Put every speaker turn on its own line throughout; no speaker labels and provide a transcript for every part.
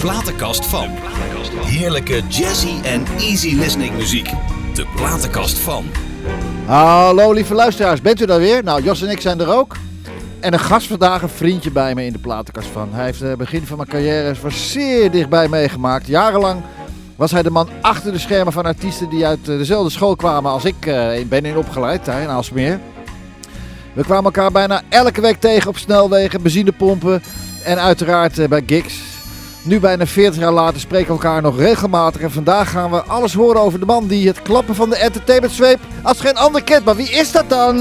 platenkast van. Heerlijke jazzy en easy listening muziek. De platenkast van.
Hallo lieve luisteraars, bent u daar weer? Nou, Jos en ik zijn er ook. En een gast vandaag, een vriendje bij me in de platenkast van. Hij heeft het begin van mijn carrière van zeer dichtbij meegemaakt. Jarenlang was hij de man achter de schermen van artiesten die uit eh, dezelfde school kwamen als ik eh, ben in opgeleid, hij in Alsmeer. We kwamen elkaar bijna elke week tegen op snelwegen, benzinepompen en uiteraard eh, bij gigs. Nu bijna 40 jaar later spreken we elkaar nog regelmatig en vandaag gaan we alles horen over de man die het klappen van de entertainment zweep als geen ander kent. Maar wie is dat dan?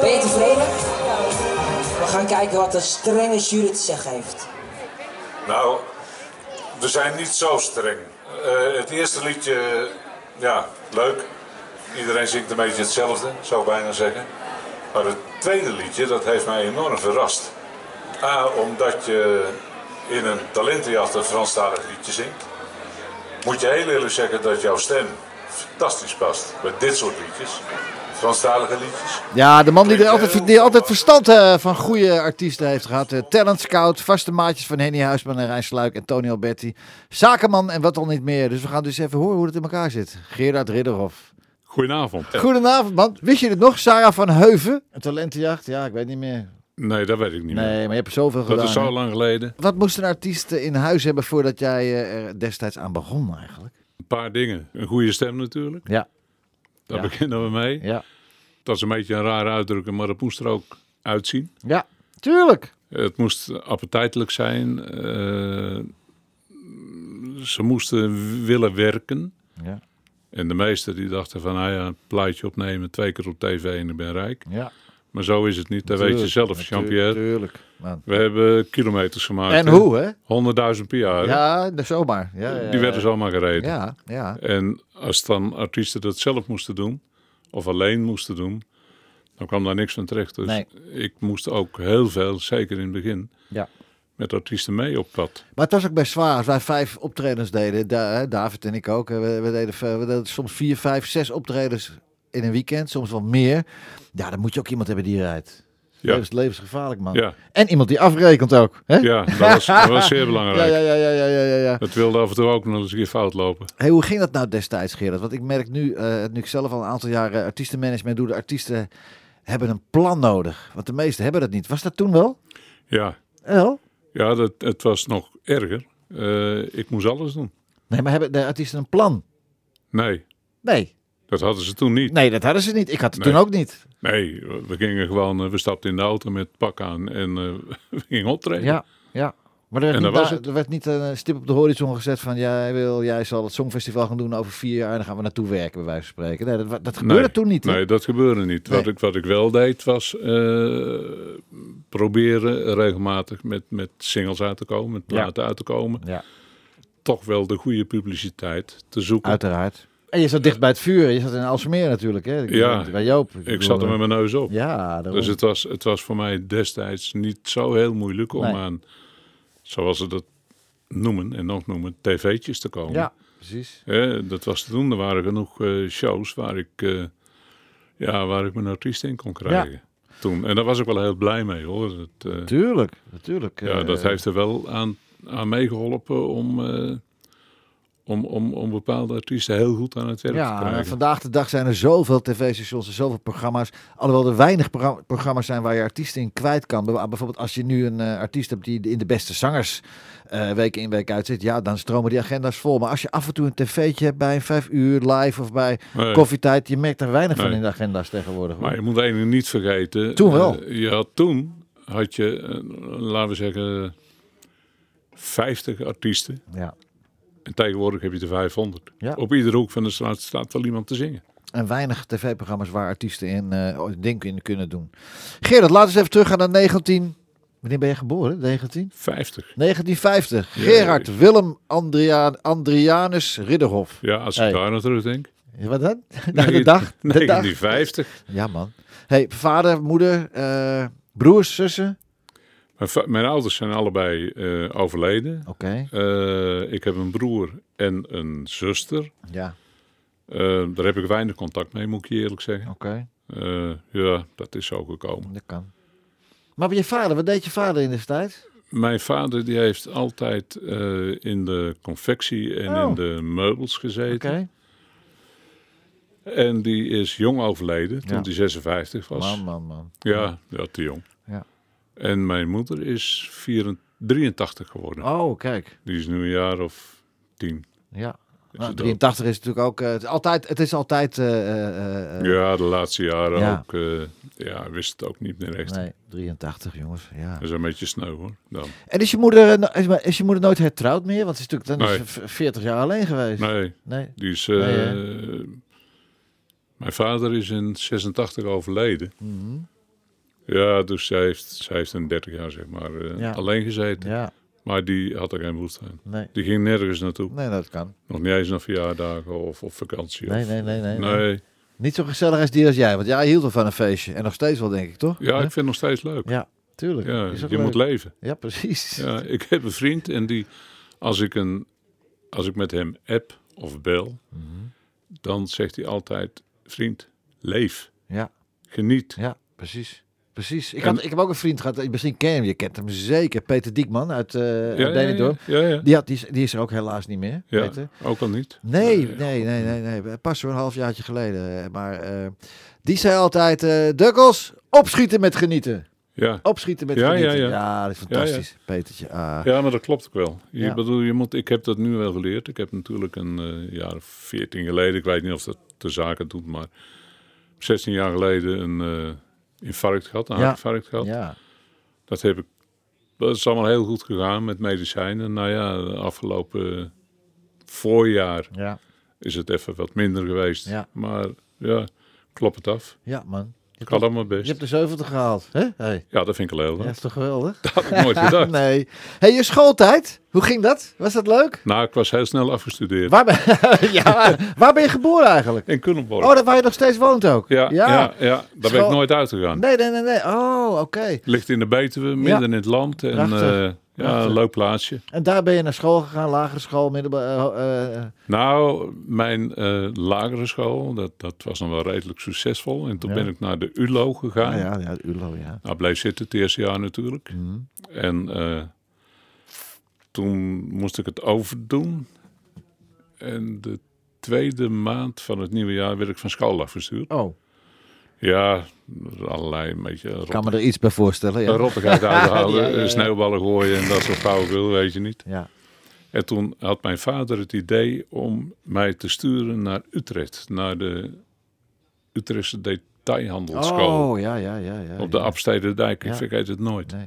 Ben je tevreden? We gaan kijken wat de strenge jury te zeggen heeft.
Nou, we zijn niet zo streng. Eh, het eerste liedje, ja, leuk. Iedereen zingt een beetje hetzelfde, zou ik bijna zeggen. Maar het tweede liedje, dat heeft mij enorm verrast. A, omdat je in een talentenjacht een Franstalig liedje zingt. Moet je heel eerlijk zeggen dat jouw stem fantastisch past bij dit soort liedjes. Franstalige liedjes.
Ja, de man die er altijd, die altijd verstand eh, van goede artiesten heeft gehad. eh, talent scout, vaste maatjes van Henny Huisman en Rijn Sluik en Tony Alberti. Zakenman en wat al niet meer. Dus we gaan dus even horen hoe het in elkaar zit. Gerard Ridderhof.
Goedenavond.
Goedenavond man. Wist je het nog? Sarah van Heuven. Een talentenjacht. Ja, ik weet niet meer.
Nee, dat weet ik niet
Nee,
meer.
maar je hebt er zoveel
Dat
gedaan.
is zo
hè?
lang geleden.
Wat moest een artiest eh, in huis hebben voordat jij eh, er destijds aan begon eigenlijk?
Een paar dingen. Een goede stem natuurlijk.
Ja,
Daar
Ja.
beginnen we mee.
ja.
Dat is een beetje een raar uitdrukken, maar dat moest er ook uitzien.
Ja, tuurlijk.
Het moest appetijtelijk zijn. eh, ze moesten willen werken.
Ja.
En de meesten die dachten van, nou ja, een plaatje opnemen, twee keer op tv en ik ben rijk.
Ja,
Maar zo is het niet, dat weet je zelf, Jean-Pierre.
Tuurlijk. man.
We hebben kilometers gemaakt.
En
hè?
hoe hè?
100.000 per jaar. hè?
Ja, dus zomaar. Ja, ja,
Oh, die werden
ja.
zomaar gereden.
Ja, ja.
En als dan artiesten dat zelf moesten doen, of alleen moesten doen, dan kwam daar niks van terecht. Dus
Nee.
ik moest ook heel veel, zeker in het begin,
Ja.
met artiesten mee op pad.
Maar het was ook best zwaar. Als wij vijf optredens deden, da- hè, David en ik ook, hè, we, we deden, ve- we deden soms vier, vijf, zes optredens in een weekend, soms wel meer. Ja, dan moet je ook iemand hebben die rijdt.
Ja.
Dat is levensgevaarlijk, man.
Ja,
En iemand die afrekent ook. Hè?
ja dat, was, dat was zeer belangrijk.
Ja, ja, ja, ja, ja, ja, ja, ja.
Het wilde af en toe ook nog eens een keer fout lopen.
Hey, hoe ging dat nou destijds, Gerard? Want ik merk nu, eh, nu ik zelf al een aantal jaren artiestenmanagement doe, de artiesten hebben een plan nodig. Want de meesten hebben dat niet. Was dat toen wel?
Ja,
Wel?
ja dat, het was nog erger. Eh, ik moest alles doen.
Nee, maar hebben de artiesten een plan?
Nee,
Nee.
dat hadden ze toen niet.
Nee, dat hadden ze niet. Ik had het
Nee.
toen ook niet.
Nee, we gingen gewoon, eh, we stapten in de auto met pak aan en eh, we gingen optreden.
Ja, ja. Maar er werd,
En
niet,
dat was
daar-
het.
er werd niet een eh, stip op de horizon gezet van jij wil, jij zal het Songfestival gaan doen over vier jaar en dan gaan we naartoe werken, bij wijze van spreken. Nee, dat, wa- dat gebeurde toen niet. hè?
Nee, dat gebeurde niet. Wat,
Nee.
ik, wat ik wel deed was eh, proberen regelmatig met, met singles uit te komen, met
Ja.
platen uit te komen.
Ja,
Toch wel de goede publiciteit te zoeken.
uiteraard. En je zat dicht bij het vuur, je zat in Alsmeer natuurlijk, hè? Ik-
Ja.
Bij Joop.
Ik zat er met mijn neus op.
Ja, daarom.
Dus het was, het was voor mij destijds niet zo heel moeilijk om
Nee.
aan, zoals ze dat noemen en nog noemen, tv'tjes te komen.
Ja, precies.
Hè, dat was te doen. Er waren genoeg eh, shows waar ik, eh, ja, waar ik mijn artiest in kon krijgen. Toen. En daar was ik wel heel blij mee hoor. Dat, eh,
Tuurlijk, natuurlijk.
Ja,
eh,
dat heeft er wel aan, aan meegeholpen om, eh, om, om, om bepaalde artiesten heel goed aan het werk te
Ja, en
krijgen.
vandaag de dag zijn er zoveel tv-stations en zoveel programma's. Alhoewel er weinig progra- programma's zijn waar je artiesten in kwijt kan. Bijv- Bijvoorbeeld als je nu een eh, artiest hebt die in de beste zangers eh, week in week uit zit. Ja, dan stromen die agenda's vol. Maar als je af en toe een tv'tje hebt bij een vijf uur live of bij
Nee,
koffietijd. Je merkt er weinig van
Nee.
in de agenda's tegenwoordig. hoor.
Maar je moet één ding niet vergeten.
Toen wel.
Eh, je had toen had je, eh, laten we zeggen, 50 artiesten.
Ja.
En tegenwoordig heb je er 500.
Ja.
Op iedere hoek van de straat staat wel iemand te zingen.
En weinig tv-programma's waar artiesten in eh ding in kunnen doen. Gerard, laten we eens even teruggaan naar 19... Wanneer ben je geboren? 19?
50.
1950. Gerard Willem Andriaan, Andrianus Ridderhof.
Ja, als
Hey.
ik daar naar terugdenk.
Ja, Wat dan? Nou, de dag. De dag.
1950.
Ja, man. Hey, vader, moeder, eh, broers, zussen.
Mijn, va- mijn ouders zijn allebei eh, overleden.
Oké,
Eh, ik heb een broer en een zuster.
ja,
Eh, daar heb ik weinig contact mee, moet ik je eerlijk zeggen.
oké,
Eh, ja, dat is zo gekomen.
dat kan. Maar bij je vader, wat deed je vader in de tijd?
Mijn vader die heeft altijd eh, in de confectie en
Oh.
in de meubels gezeten.
Oké,
En die is jong overleden, toen
Ja.
hij 56 was.
man, man, man.
Ja, ja, te jong.
Ja.
En mijn moeder is 84, 83 geworden.
Oh, kijk,
Die is nu een jaar of tien.
ja.
het
Nou,
ook.
83 is natuurlijk ook, eh, het is altijd, het is altijd, eh, eh, eh,
ja, de laatste jaren
ja.
ook. eh, ja, wist het ook niet meer echt.
nee, 83 jongens, ja.
Dat is een beetje sneu hoor. Dan.
En is je moeder, eh, no- is, maar- is je moeder nooit hertrouwd meer? Want ze is natuurlijk dan
Nee.
is ze v- 40 jaar alleen geweest.
Nee,
Nee.
die is... eh,
Nee,
mijn vader is in 86 overleden.
Mhm.
Ja, dus zij heeft, zij heeft een 30 jaar zeg maar eh,
Ja.
alleen gezeten.
Ja,
Maar die had er geen behoefte aan.
nee.
Die ging nergens naartoe.
Nee, dat kan.
Nog niet eens naar verjaardagen of op vakantie.
Nee,
of-
nee, nee, nee, nee.
Nee.
Niet zo gezellig als die als jij, want jij hield wel van een feestje. En nog steeds wel, denk ik, toch?
Ja, ik vind het nog steeds leuk.
Ja, tuurlijk.
Ja,
Is
je
ook leuk.
moet leven.
Ja, precies.
Ja, ik heb een vriend en die, als ik, een, als ik met hem app of bel,
Mhm.
dan zegt hij altijd: Vriend, leef,
Ja,
geniet.
ja, precies. Precies. Ik,
En-
had, ik heb ook een vriend gehad, eh, misschien ken je hem, je kent hem zeker. Peter Diekman uit, eh
Ja,
uit
ja,
Benidorm.
Ja, ja, ja.
Die, had, die, is, die is er ook helaas niet meer.
Ja,
Peter.
ook al niet.
Nee, nee, nee, nee, nee. Pas zo'n halfjaartje geleden. eh, Maar eh, die zei altijd, eh Dukkels, opschieten met genieten.
Ja.
Opschieten met
Ja, ja,
genieten. Ja,
ja.
dat is fantastisch. Petertje. Ah.
ja, maar dat klopt ook wel. Je,
Ja.
bedoel, je moet, ik heb dat nu wel geleerd. Ik heb natuurlijk een eh, jaar of veertien geleden, ik weet niet of dat de zaken doet, maar 16 jaar geleden een eh, infarct gehad, een
Ja.
hartinfarct gehad.
Ja,
Dat heb ik. Dat is allemaal heel goed gegaan met medicijnen. Nou ja, de afgelopen voorjaar
ja,
is het even wat minder geweest.
Ja.
Maar ja, klop het af.
ja, man.
Ik had allemaal best.
Je hebt de 70 gehaald, hè? Hey.
Ja, dat vind ik al heel leuk.
Dat is toch geweldig?
Dat had ik nooit gedacht.
nee. hey, je schooltijd, hoe ging dat? Was dat leuk?
Nou, ik was heel snel afgestudeerd.
Waar ben, ja, waar ben je geboren eigenlijk?
In Culemborg.
Oh, dat waar je nog steeds woont ook?
ja, ja. ja, daar ben
School-
ik nooit uitgegaan.
Nee, nee, nee, nee. Oh, oké.
Ligt in de Betuwe, midden in het land. En
Prachtig.
eh, ja,
Prachtig.
een leuk plaatsje.
En daar ben je naar school gegaan, lagere school, middelbare... eh, eh,
Nou, mijn eh, lagere school, dat, dat was dan wel redelijk succesvol. En toen
Ja.
ben ik naar de ULO gegaan.
ah, ja, ja, ULO, ja.
Nou, bleef zitten het eerste jaar natuurlijk.
Mhm.
En eh, toen moest ik het overdoen. En de tweede maand van het nieuwe jaar werd ik van school afgestuurd.
Oh,
Ja, allerlei een beetje
kan
rot,
me er iets bij voorstellen, ja.
rottigheid
Ja, ja,
uithouden.
ja.
eh, Sneeuwballen gooien en dat soort flauwekul, weet je niet.
Ja.
En toen had mijn vader het idee om mij te sturen naar Utrecht. Naar de Utrechtse detailhandelsschool.
Oh, ja, ja, ja. ja
op de
ja.
Abstede Dijk. Ik
Ja.
vergeet het nooit.
Nee.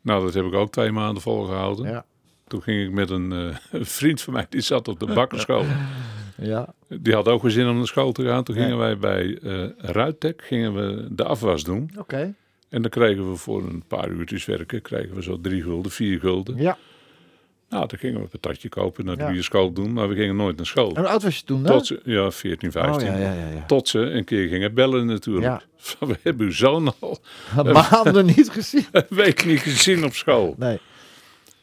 Nou, dat heb ik ook twee maanden volgehouden.
Ja,
Toen ging ik met een, eh, een vriend van mij, die zat op de bakkerschool.
ja.
Die had ook geen zin om naar school te gaan. Toen
Nee.
gingen wij bij eh Ruitek gingen we de afwas doen.
oké.
En dan kregen we voor een paar uurtjes werken, kregen we zo drie gulden, vier gulden.
Ja.
Nou, dan gingen we een patatje kopen, naar de
Ja.
bioscoop doen. Maar we gingen nooit naar school.
En hoe oud was je toen dan?
Tot ze, ja, 14, 15.
Oh, ja, ja, ja. ja.
Tot ze een keer gingen bellen natuurlijk. Van, we hebben uw zoon al
Maanden niet gezien.
een week niet gezien op school.
Nee.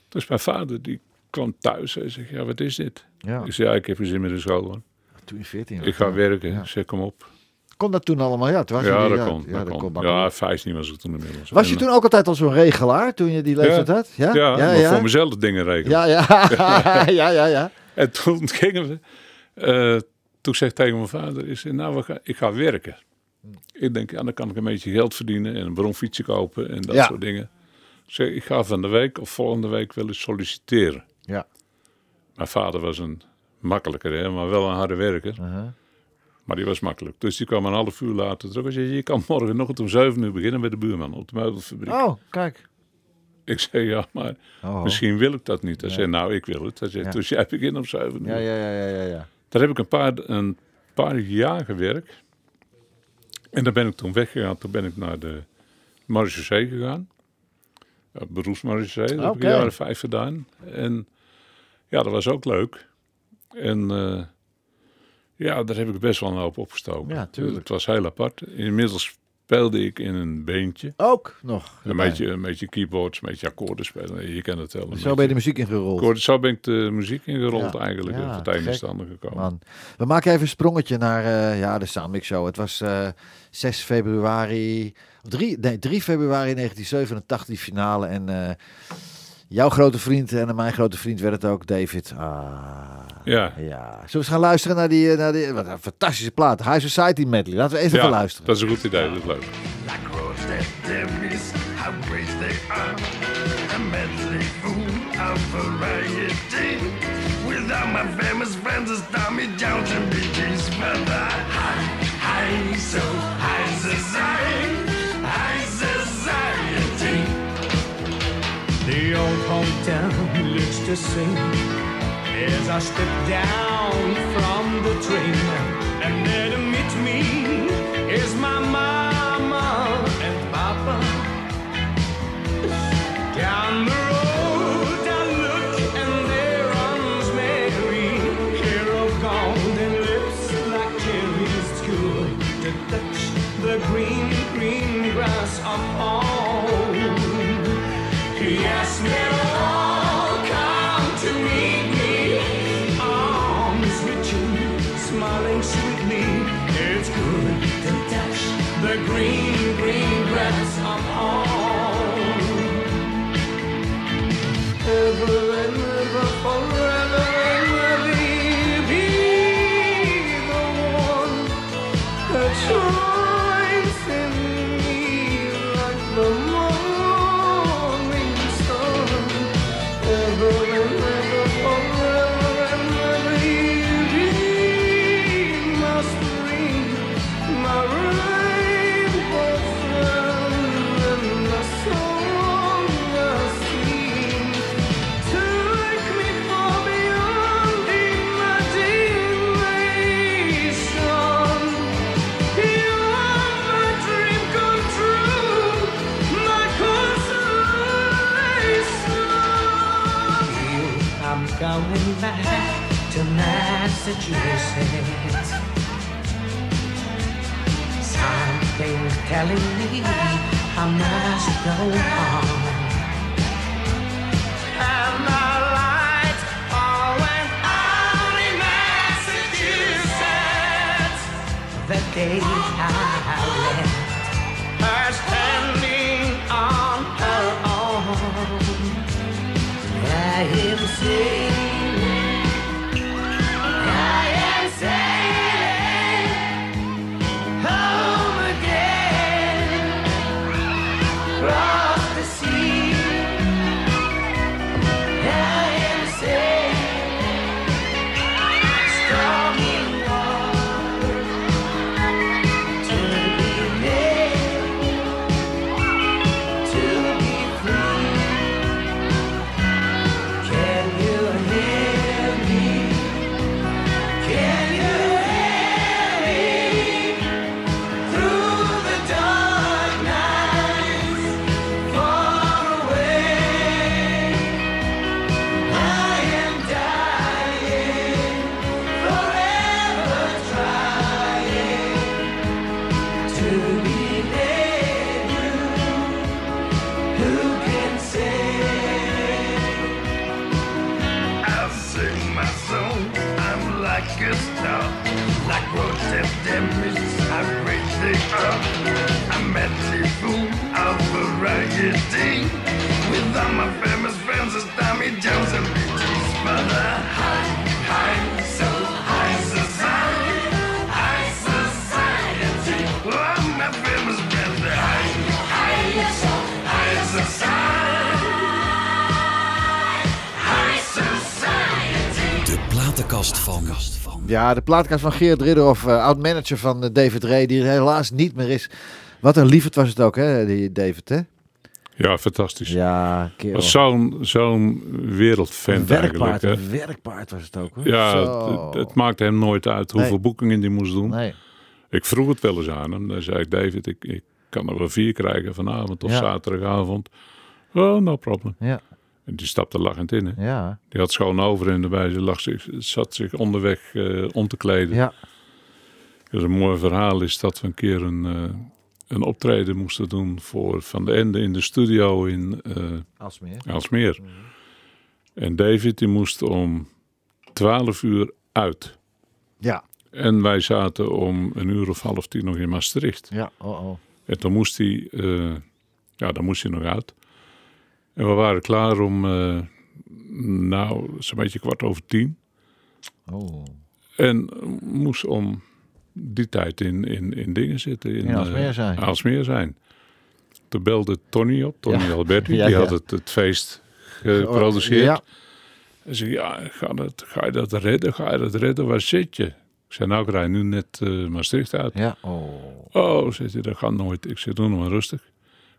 Dus mijn vader die kwam thuis en zei, ja, wat is dit?
Ja,
Ik zei, ja, ik heb geen zin meer in school. hoor.
toen je 14 was.
Ik ga werken,
Ja.
zeg kom op.
Kon dat toen allemaal? Ja, toen was
Ja,
je
dat
ja,
kon.
Ja,
dat kon.
maar-
ja, 15 was ik toen inmiddels.
Was je
En,
toen ook altijd al zo'n regelaar toen je die leeftijd had? Ja,
eh, Ja,
ja,
maar
ja.
voor mezelf dingen regelen.
Ja, ja, ja, ja, ja.
En toen gingen we... eh, toen zei ik tegen mijn vader, ik zei, nou, we gaan, ik ga werken. Ik denk, ja, dan kan ik een beetje geld verdienen en een bronfietsje kopen en dat
Ja.
soort dingen. Ik zei, ik ga van de week of volgende week wel eens solliciteren.
Ja.
Mijn vader was een makkelijker, hè, maar wel een harde werker.
Uh-huh.
Maar die was makkelijk. Dus die kwam een half uur later terug en zei, je kan morgen nog om zeven uur beginnen bij de buurman op de meubelfabriek.
Oh, kijk.
Ik zei, ja, maar
Oh.
misschien wil ik dat niet. Hij zei, nou, ik wil het. Hij zei,
Ja.
dus jij begint om zeven uur.
Ja, ja, ja, ja, ja, ja.
Daar heb ik een paar, een paar jaar gewerkt. En daar ben ik toen weggegaan. Toen ben ik naar de Marechaussee gegaan. Ja, beroepsmarechaussee. Dat heb ik
Oké.
een jaar of vijf gedaan. En ja, dat was ook leuk. En eh, ja, daar heb ik best wel een hoop opgestoken.
Ja, tuurlijk.
Het was heel apart. Inmiddels speelde ik in een beentje.
Ook nog.
Een beetje, eh, een beetje keyboards, een beetje akkoorden spelen. Je kent het wel. een
Zo
beetje.
ben je de muziek ingerold.
Akkoorden, zo ben ik de muziek ingerold
Ja,
eigenlijk.
ja,
Ja, het
te gek.
einde standen gekomen.
Man. We maken even een sprongetje naar eh, ja, de Soundmix Show. Het was eh, 6 februari, 3, nee, 3 februari 1987 die finale. En eh, jouw grote vriend en mijn grote vriend werd het ook, David. Ah,
Ja.
ja. Zullen we eens gaan luisteren naar die, eh, naar die wat een fantastische plaat. High Society Medley. Laten we even
ja,
gaan luisteren.
dat is een goed idee. Dat is leuk.
Lacrosse that there is, how great they are. A medley full of variety. Without my famous friends, it's Tommy Jones and BG's brother. High, high, so high society, high society.
The old hometown looks the same as I step down from the train. And there to meet me is my mama and papa. Down the road I look and there runs Mary, hair of gold and lips like cherries. It's cool to touch the green, green grass of home. Yes, they'll all come to meet me. Arms reaching, smiling sweetly. It's good to touch the green, green grass of home. Ever and ever, forever and ever, be the one that shines in me like the morning sun. Ever and ever, forever and ever, you be my spring, my rainbow friend, and the song I sing. Take me far beyond imagination. I'm Going back to Massachusetts. Something's telling me I must go home. And the lights all went out in Massachusetts the day I left her standing on her own. I am sailing, I am sailing home again across the sea. I am sailing, stormy waters to be made, to be free. Can you hear me? Can you hear me? Through the dark nights, far away, I am dying, forever trying to be near you. Who can say?
I sing my song, I'm like a star. Like rose and damage, I break the up. I'm at the full of variety. With all my famous friends, it's Tommy Jones and Beatles. But the high, high, so high society, high society. Oh, my famous friends, the high, high, so high society, high society.
De platenkast van.
Ja, de plaatkast van Geert Ridderhoff, eh, oud-manager van eh, David Ray, die er helaas niet meer is. Wat een liefheid was het ook, hè, die David, hè?
Ja, fantastisch.
Ja, kerel.
Was zo'n zo'n wereldvent
Een werkpaard,
eigenlijk. hè.
een werkpaard was het ook, hoor.
Ja,
Zo.
het, het maakte hem nooit uit hoeveel
Nee.
boekingen die moest doen.
Nee.
Ik vroeg het wel eens aan hem. Dan zei ik, David, ik, ik kan er wel vier krijgen vanavond of
Ja.
zaterdagavond. Oh, no problem.
Ja,
En die stapte lachend in. Hè.
ja,
Die had schoon over en erbij. Ze lag zich, zat zich onderweg eh, om te kleden.
ja.
Dus een mooi verhaal is dat we een keer een, eh, een optreden moesten doen voor Van de Ende in de studio in eh,
Als meer.
Aalsmeer. En David die moest om 12 uur uit.
Ja,
En wij zaten om een uur of half tien nog in Maastricht.
ja, oh oh.
En toen moest hij, eh, ja, dan moest hij nog uit. En we waren klaar om, eh, nou, zo'n beetje kwart over tien.
oh.
En moest om die tijd in, in, in dingen zitten. In
In Aalsmeer
eh,
zijn.
Aalsmeer zijn. Toen belde Tony op, Tony
Ja.
Alberti.
Ja,
die
ja.
had het, het feest geproduceerd.
Ja,
Hij zei, ja, ga, dat, ga je dat redden? Ga je dat redden? Waar zit je? Ik zei, nou, ik rij nu net eh, Maastricht uit.
ja, oh.
Oh, zegt hij, dat gaat nooit. Ik zeg, doe nog maar rustig.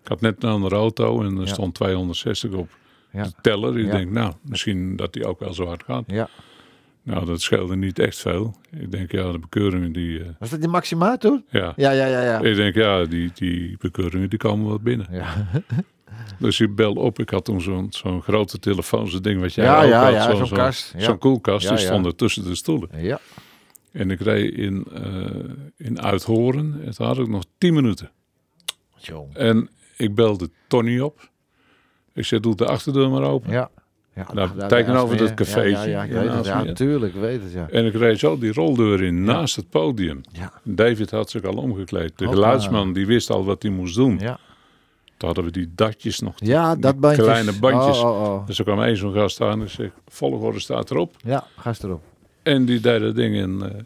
Ik had net een andere auto en er
Ja.
stond 260 op
Ja,
de teller. Ik
Ja.
denk, nou, misschien dat die ook wel zo hard gaat.
ja.
Nou, dat scheelde niet echt veel. Ik denk, ja, de bekeuringen die... eh,
Was dat die Maxima toen?
ja.
Ja, ja, ja, ja.
Ik denk, ja, die, die bekeuringen die komen wel binnen.
Ja,
Dus ik bel op. Ik had toen zo'n zo'n grote telefoon, zo'n ding wat jij
Ja,
ook
ja,
had.
ja,
zo'n
zo'n
zo'n-
kast, ja.
zo'n koelkast,
Ja,
die
ja.
stond er tussen de stoelen.
ja.
En ik reed in, eh in Uithoren. Het had ik nog 10 minuten.
Jong.
En ik belde Tony op. Ik zei, doe de achterdeur maar open.
Ja. ja
Nou,
daar-
kijk
daar-
nou over
daar-
dat
ja, Ja, ja,
cafeetje
ik
in
weet het. Ja,
Aalsmeer.
natuurlijk, ik weet het, ja.
En ik reed zo die roldeur in naast het podium.
Ja,
David had zich al omgekleed. De
Hoppa.
geluidsman die wist al wat hij moest doen.
ja.
Toen hadden we die dakjes nog.
ja
die
dat bandje.
Kleine bandjes.
Oh, oh, oh.
Dus er kwam één zo'n gast aan en zei, volgorde staat erop.
Ja, gast erop.
En die deed dat ding en eh,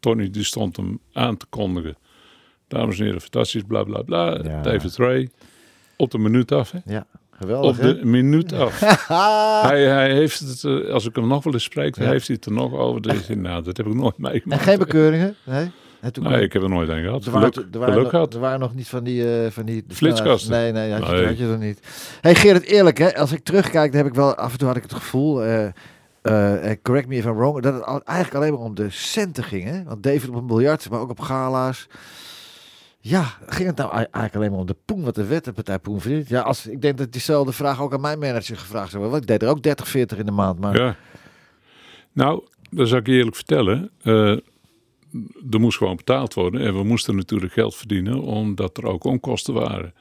Tony die stond hem aan te kondigen. Dames en heren, fantastisch, bla bla bla.
Ja.
David Ray. Op de minuut af, hè?
Ja,
Op
geweldig, hè?
de minuut af.
Ah,
Hij, hij heeft het, eh, als ik hem nog wel eens spreek, dan
Ja.
heeft hij het er nog over. Dan zegt hij, nou, dat heb ik nooit
en
meegemaakt.
geen bekeuringen? Nee? En toen
Nee, ik heb er nooit aan gehad.
Er waren,
Geluk,
er, waren
geluk
nog,
gehad.
er waren nog niet van die... eh, van die de
Flitskasten.
snelheid- Nee, nee, had je,
Nee.
had je er niet. hey Gerrit, eerlijk hè, als ik terugkijk, dan heb ik wel... Af en toe had ik het gevoel, eh, eh, eh, correct me if I'm wrong, dat het al- eigenlijk alleen maar om de centen ging. Hè? Want David op een biljart, maar ook op gala's. Ja, ging het nou ei- eigenlijk alleen maar om de poen, wat de wet, de partij poen verdient? Ja, als, ik denk dat diezelfde vraag ook aan mijn manager gevraagd zou worden. Want ik deed er ook 30, 40 in de maand, maar...
Ja. Nou, dat zal ik je eerlijk vertellen. Eh, er moest gewoon betaald worden. En we moesten natuurlijk geld verdienen, omdat er ook onkosten waren.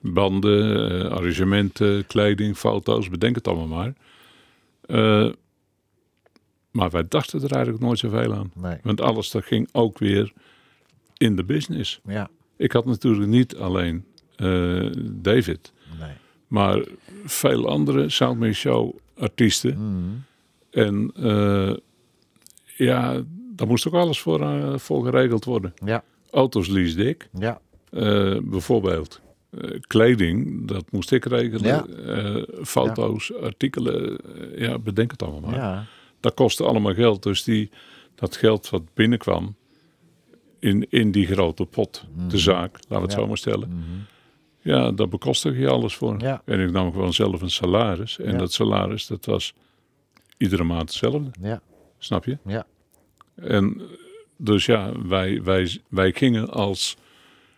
Banden, eh, arrangementen, kleding, foto's, bedenk het allemaal maar. Eh, maar wij dachten er eigenlijk nooit zoveel aan.
Nee,
Want alles dat ging ook weer in de business.
ja,
Ik had natuurlijk niet alleen eh, David,
nee.
maar veel andere Soundmix Show artiesten.
Mhm.
En eh, ja, daar moest ook alles voor, eh, voor geregeld worden.
Ja,
Auto's leasde ik,
ja,
eh, bijvoorbeeld. Eh, kleding, dat moest ik regelen.
Ja.
Eh, foto's, artikelen, eh, ja, bedenk het allemaal maar.
ja.
Dat kostte allemaal geld. Dus die, dat geld wat binnenkwam in, in die grote pot, de zaak, laten we het
Mhm. Ja. Mhm.
zo maar stellen. Ja, daar bekostig je alles voor.
Ja.
En ik nam gewoon zelf een salaris. En
Ja.
dat salaris, dat was iedere maand hetzelfde.
ja.
Snap je?
Ja.
En eh, dus ja, wij, wij, wij gingen als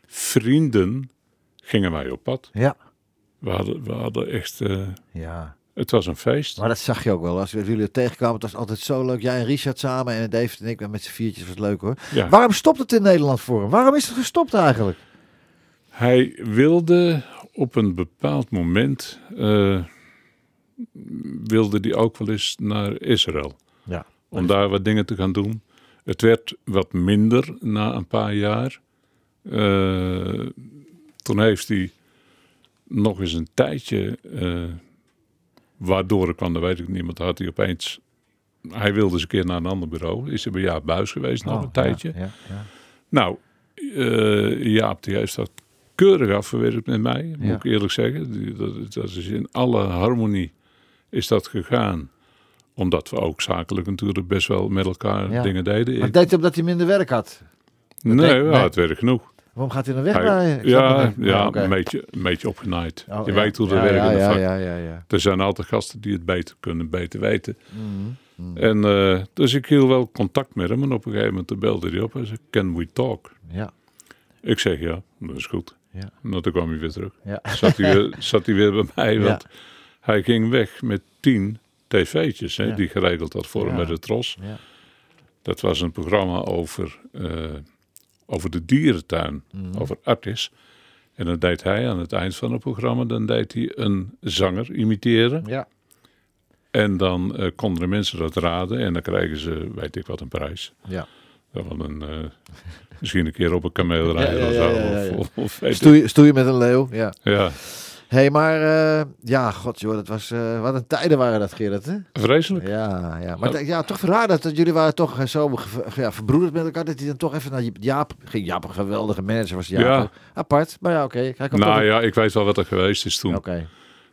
vrienden gingen wij op pad.
Ja.
We hadden, we hadden echt... eh,
Ja.
het was een feest.
Maar dat zag je ook wel. Als we jullie het tegenkwamen, het was altijd zo leuk. Jij en Richard samen en David en ik en met z'n viertjes was het leuk hoor.
Ja.
Waarom stopt het in Nederland voor hem? Waarom is het gestopt eigenlijk?
Hij wilde op een bepaald moment... eh, wilde die ook wel eens naar Israël.
Ja.
Om daar wat dingen te gaan doen. Het werd wat minder na een paar jaar. Eh, toen heeft hij nog eens een tijdje... eh, waardoor ik kwam, dat weet ik niet. Want dan had hij opeens... Hij wilde eens een keer naar een ander bureau. Is hij bij Jaap Buis geweest nog een tijdje.
Oh, Ja, ja,
Nou, eh, Jaap die heeft dat keurig afgewerkt met mij, moet
Ja.
ik eerlijk zeggen. Die- Dat, dat is in alle harmonie is dat gegaan. Omdat we ook zakelijk natuurlijk best wel met elkaar
Ja.
dingen deden.
Maar
Ik-
deed hij omdat hij minder werk had?
nee,
deed-
ja,
nee.
het werkt genoeg.
Waarom gaat hij dan weg?
Hij-
bij- Ik snap
ja,
het niet. Ah,
ja
oké.
een, beetje, een beetje opgenaaid.
Oh,
je
ja.
weet hoe de
Ja,
werken
ja,
in het
ja,
vak.
ja, ja, ja.
Er zijn altijd gasten die het beter kunnen, beter weten.
Mhm,
En, eh, dus ik hield wel contact met hem. En op een gegeven moment belde hij op en zei, can we talk?
Ja,
Ik zeg ja, dat is goed.
Ja.
Nou, toen kwam hij weer terug.
ja.
Zat hij, weer- zat hij weer bij mij,
Ja.
want hij ging weg met tien tv'tjes, hè,
Ja.
die geregeld had voor hem
Ja.
met de Tros.
Ja.
Dat
Mhm.
was een programma over, eh, over de dierentuin, over Artis. En dan deed hij aan het eind van het programma, dan deed hij een zanger imiteren.
Ja.
En dan eh, konden de mensen dat raden en dan krijgen ze, weet ik wat, een prijs.
ja.
Wel een, eh, misschien een keer op een kameel rijden
Ja, ja,
of
ja,
zo.
ja, ja.
Of, of, of weet ik-
Stoei, stoei met een leeuw, ja.
Ja,
Hé, hey, maar eh, ja, god joh, dat was, eh, wat een tijden waren dat, Gerrit, hè?
vreselijk.
Ja, ja.
Oh.
Maar ja, toch raar dat, dat jullie waren toch eh, zo ge- ja, verbroederd met elkaar, dat hij dan toch even naar Jaap- Jaap ging. Jaap, een geweldige manager was Jaap.
Ja.
ook. Apart, maar ja, oké. hij kwam toch-
Nou ja, ik weet wel wat er geweest is toen.
Oké,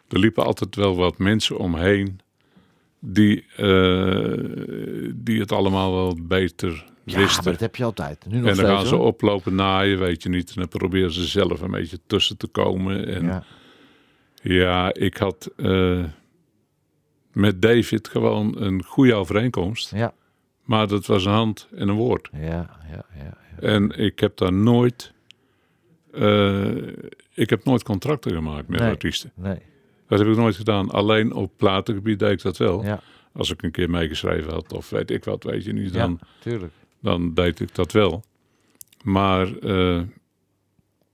Er liepen altijd wel wat mensen omheen die, eh, die het allemaal wel beter
ja, maar
wisten.
dat heb je altijd. Nu nog
en dan
steeds,
gaan ze
hoor.
oplopen naaien, weet je niet. En dan proberen ze zelf een beetje tussen te komen. En ja,
Ja.
ik had eh, met David gewoon een goede overeenkomst.
Ja,
Maar dat was een hand en een woord.
ja, ja, ja.
En ik heb daar nooit... eh, ik heb nooit contracten gemaakt met
Nee.
artiesten.
Nee,
Dat heb ik nooit gedaan. Alleen op platengebied deed ik dat wel.
ja,
Als ik een keer meegeschreven had of weet ik wat, weet je niet, dan,
ja, tuurlijk.
dan deed ik dat wel. Maar eh,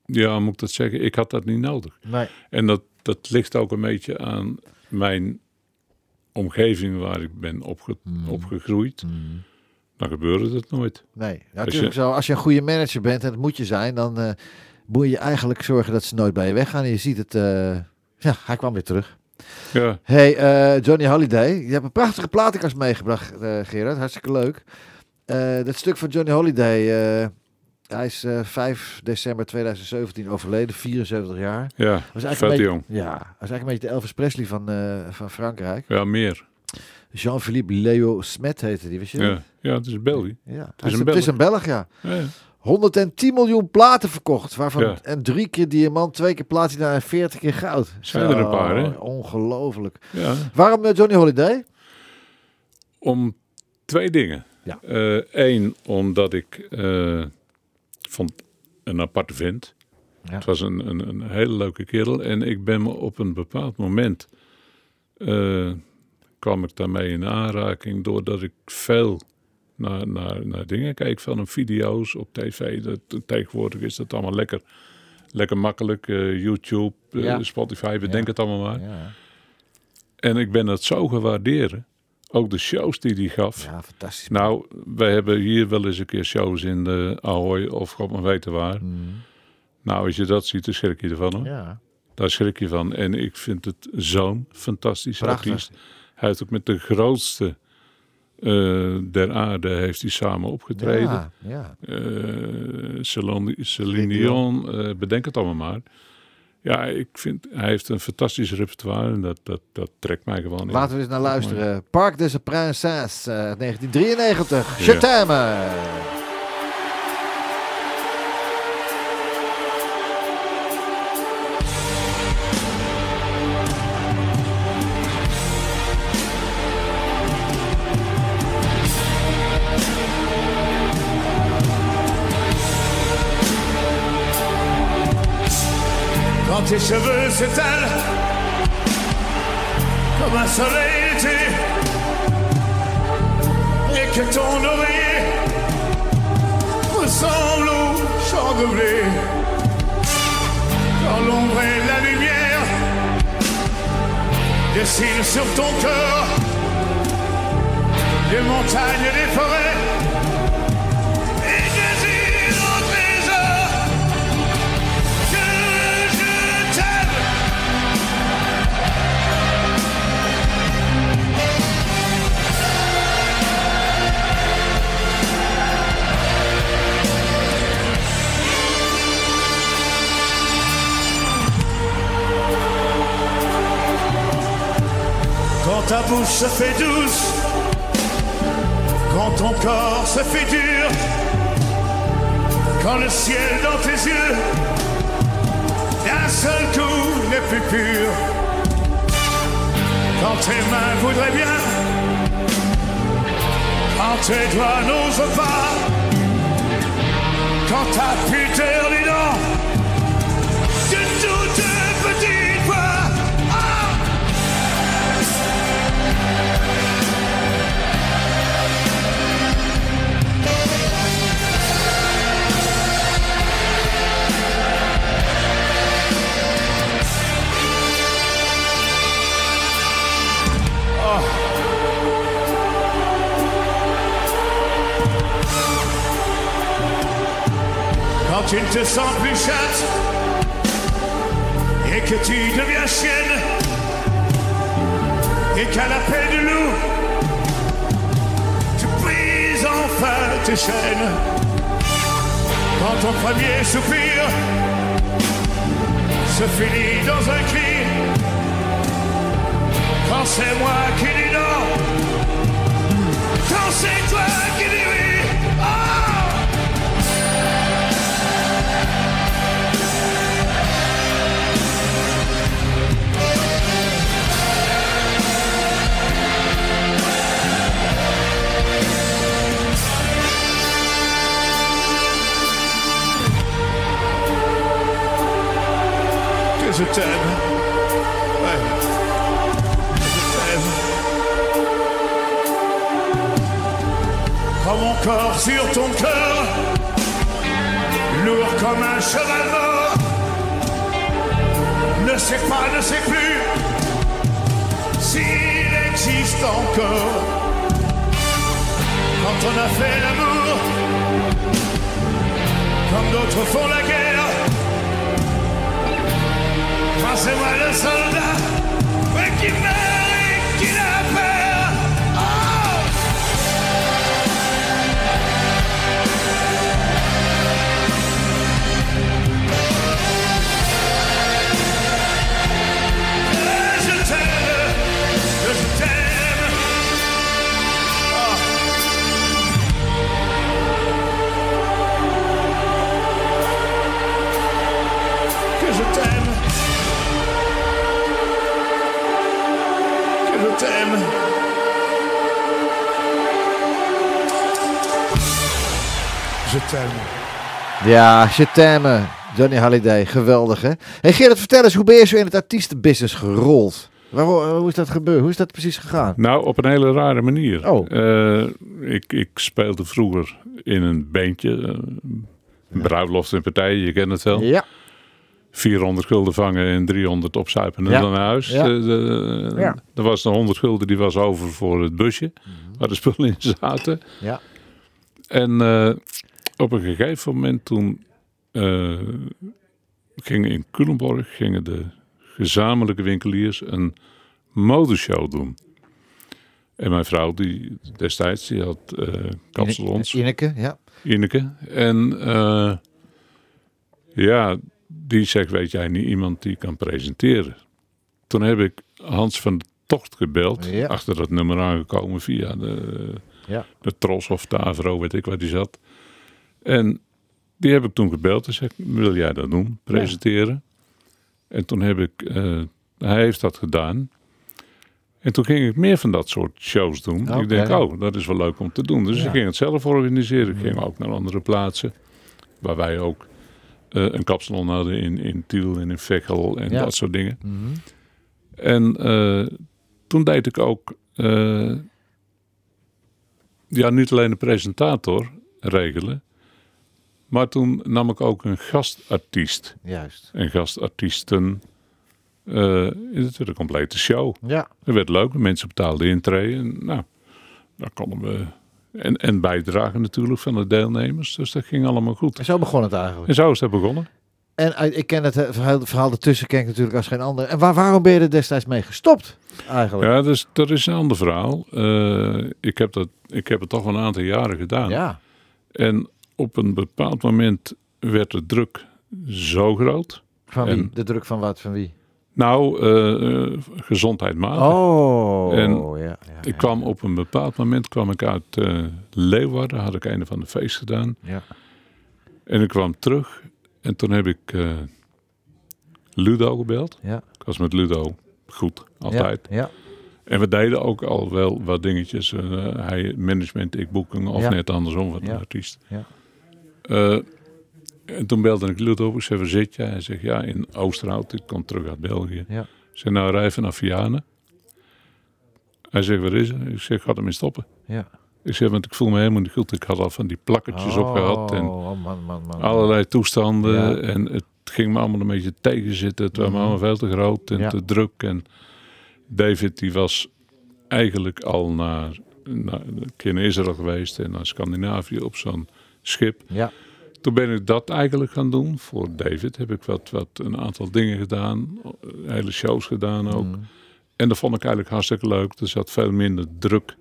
ja, moet ik dat zeggen, ik had dat niet nodig.
Nee,
En dat, dat ligt ook een beetje aan mijn omgeving waar ik ben opge-
Hmm.
opgegroeid. Dan gebeurde dat nooit.
nee. Ja,
je-
natuurlijk zo. Als je een goede manager bent, en dat moet je zijn, dan eh, moet je eigenlijk zorgen dat ze nooit bij je weggaan. En je ziet het, eh, ja, hij kwam weer terug.
Ja,
Hey, eh, Johnny Holiday. Je hebt een prachtige platenkast meegebracht, eh, Gerard. Hartstikke leuk. Eh, dat stuk van Johnny Holiday. eh, hij is eh, 5 december 2017 overleden, 74 jaar.
ja
Was
vet
een beetje,
jong.
Ja, was eigenlijk een beetje de Elvis Presley van, eh, van Frankrijk.
Ja, meer.
Jean-Philippe Leo Smet heette die, weet je?
Ja, ja het is België.
Ja,
is
het, is
een
een, het is een Belg, ja.
Ja.
110 miljoen platen verkocht, waarvan
Ja.
en drie keer diamant, twee keer platina en 40 keer goud.
Zijn er een
Zo,
paar, hè?
Ongelooflijk.
ja.
Waarom eh, Johnny Holiday?
Om twee dingen.
Ja.
Eén, omdat ik eh, vond een aparte vent.
Ja.
Het was een, een, een hele leuke kerel. En ik ben me op een bepaald moment... eh, kwam ik daarmee in aanraking... doordat ik veel naar, naar, naar dingen keek van hem. Video's op tv. Dat, tegenwoordig is dat allemaal lekker, lekker makkelijk. eh, YouTube, eh,
Ja.
Spotify, bedenk het allemaal maar.
Ja,
En ik ben dat zo gewaarderen. Ook de shows die hij gaf.
ja fantastisch.
Nou, wij hebben hier wel eens een keer shows in de Ahoy of god maar weten waar. Nou, als je dat ziet, dan schrik je ervan hoor.
Mm. Ja,
Daar schrik je van. En ik vind het zo'n fantastische
Prachtig.
artiest. Hij heeft ook met de grootste eh, der aarde heeft hij samen opgetreden.
ja, ja.
eh Celine, Celine Dion, eh, bedenk het allemaal maar. Ja, ik vind, hij heeft een fantastisch repertoire en dat, dat, dat trekt mij gewoon in.
Laten we eens naar luisteren. Parc des Princesses eh, uit 1993. Chetame.
Quand tes cheveux s'étalent comme un soleil d'été et que ton oreiller ressemble au champ de blé. Quand l'ombre et la lumière dessinent sur ton cœur des montagnes et des forêts et des îles en trésor. Que je t'aime Quand ta bouche se fait douce, quand ton corps se fait dur, quand le ciel dans tes yeux d'un seul coup n'est plus pur. Quand tes mains voudraient bien, quand tes doigts n'osent pas, quand ta puteur dit non, de toutes petites voix. Ah tu ne te sens plus chatte et que tu deviens chienne et qu'à l'appel du loup tu brises enfin tes chaînes quand ton premier soupir se finit dans un cri quand c'est moi qui dis non quand c'est toi qui dis oui
Ah!
oh que je t'aime. Ouais. Je t'aime. Prends mon corps sur ton cœur, lourd comme un cheval mort. Ne sais pas, ne sais plus s'il existe encore. Quand on a fait l'amour, comme d'autres font la guerre, Passez-moi le soldat ouais, qui meurt et qui n'a peur. Oh Que je t'aime, que je t'aime. Oh. Que je t'aime. que je t'aime. Je t'aime.
Ja, September. Johnny Halliday, geweldig hè. Hey Gerrit, vertel eens, hoe ben je zo in het artiestenbusiness gerold? Waarom, hoe is dat gebeurd? Hoe is dat precies gegaan?
Nou, op een hele rare manier.
Oh.
Eh, ik, ik speelde vroeger in een bandje. eh, bruiloft en partijen, je kent het wel.
Ja,
400 gulden vangen en 300 opzuipen en
Ja.
dan naar huis.
Ja.
Eh, de-
Ja.
Er was de 100 gulden die was over voor het busje
Mhm.
waar de spullen in zaten.
ja.
En eh, op een gegeven moment toen eh, gingen in Culemborg gingen de gezamenlijke winkeliers een modeshow doen. En mijn vrouw die destijds die had eh kapsalons.
Ineke, ja.
Ineke. En eh, ja, die zegt, weet jij niet iemand die kan presenteren? Toen heb ik Hans van de Tocht gebeld.
Ja.
Achter dat nummer aangekomen via de,
Ja.
de Tros of de Avro, weet ik waar die zat. En die heb ik toen gebeld en zeg, wil jij dat doen? Presenteren? En toen heb ik, eh, hij heeft dat gedaan. En toen ging ik meer van dat soort shows doen.
Oké.
Ik denk, oh, dat is wel leuk om te doen. Dus ik ging het zelf organiseren. Ik ging ook naar andere plaatsen. Waar wij ook eh, een kapsalon hadden in, in Tiel en in Veghel en
Ja.
dat soort dingen. En eh, toen deed ik ook, eh, ja, niet alleen de presentator regelen. Maar toen nam ik ook een gastartiest
Juist.
en gastartiesten eh in het de complete show.
Ja,
Het werd leuk, de mensen betaalden intree. En, nou, daar konden we. En, en bijdragen natuurlijk van de deelnemers. Dus dat ging allemaal goed.
en zo begon het eigenlijk.
En zo is dat begonnen.
En eh, ik ken het eh, verhaal, verhaal ertussen ken ik natuurlijk als geen ander. En waar, waarom ben je er destijds mee gestopt eigenlijk?
Ja, dus, dat is een ander verhaal. Eh, ik, heb dat, ik heb het toch wel een aantal jaren gedaan.
Ja,
En op een bepaald moment werd de druk zo groot.
van wie?
En-
De druk van wat, van wie?
Nou, eh, eh, gezondheidmatig.
Oh,
En-
ja. ja,
Ik kwam op een bepaald moment kwam ik uit eh, Leeuwarden, had ik een van de feest gedaan.
Ja.
En ik kwam terug en toen heb ik eh, Ludo gebeld.
Ja.
Ik was met Ludo goed, altijd.
Ja, ja.
En we deden ook al wel wat dingetjes. eh, hij management, ik boeking of
Ja.
net andersom wat
Ja.
een artiest.
Ja.
Eh, en toen belde ik Ludo op, ik zei, waar zit jij? Hij zegt, ja, in Oosterhout, ik kom terug uit België.
Ja.
Ik zei, nou, rij even naar Vianen. Hij zegt, waar is hij? Ik zeg, ga ermee stoppen.
ja.
Ik zeg, want ik voel me helemaal niet goed. Ik had al van die plakketjes op gehad en
Oh, man, man, man.
allerlei toestanden.
Ja. Mhm.
En het ging me allemaal een beetje tegenzitten. Het was me allemaal veel te groot en
Ja.
te druk. En David die was eigenlijk al naar, naar een keer naar Israël geweest en naar Scandinavië op zo'n schip.
Ja,
Toen ben ik dat eigenlijk gaan doen. Voor David heb ik wat, wat een aantal dingen gedaan. Hele shows gedaan ook.
Mm.
En dat vond ik eigenlijk hartstikke leuk. Er zat veel minder druk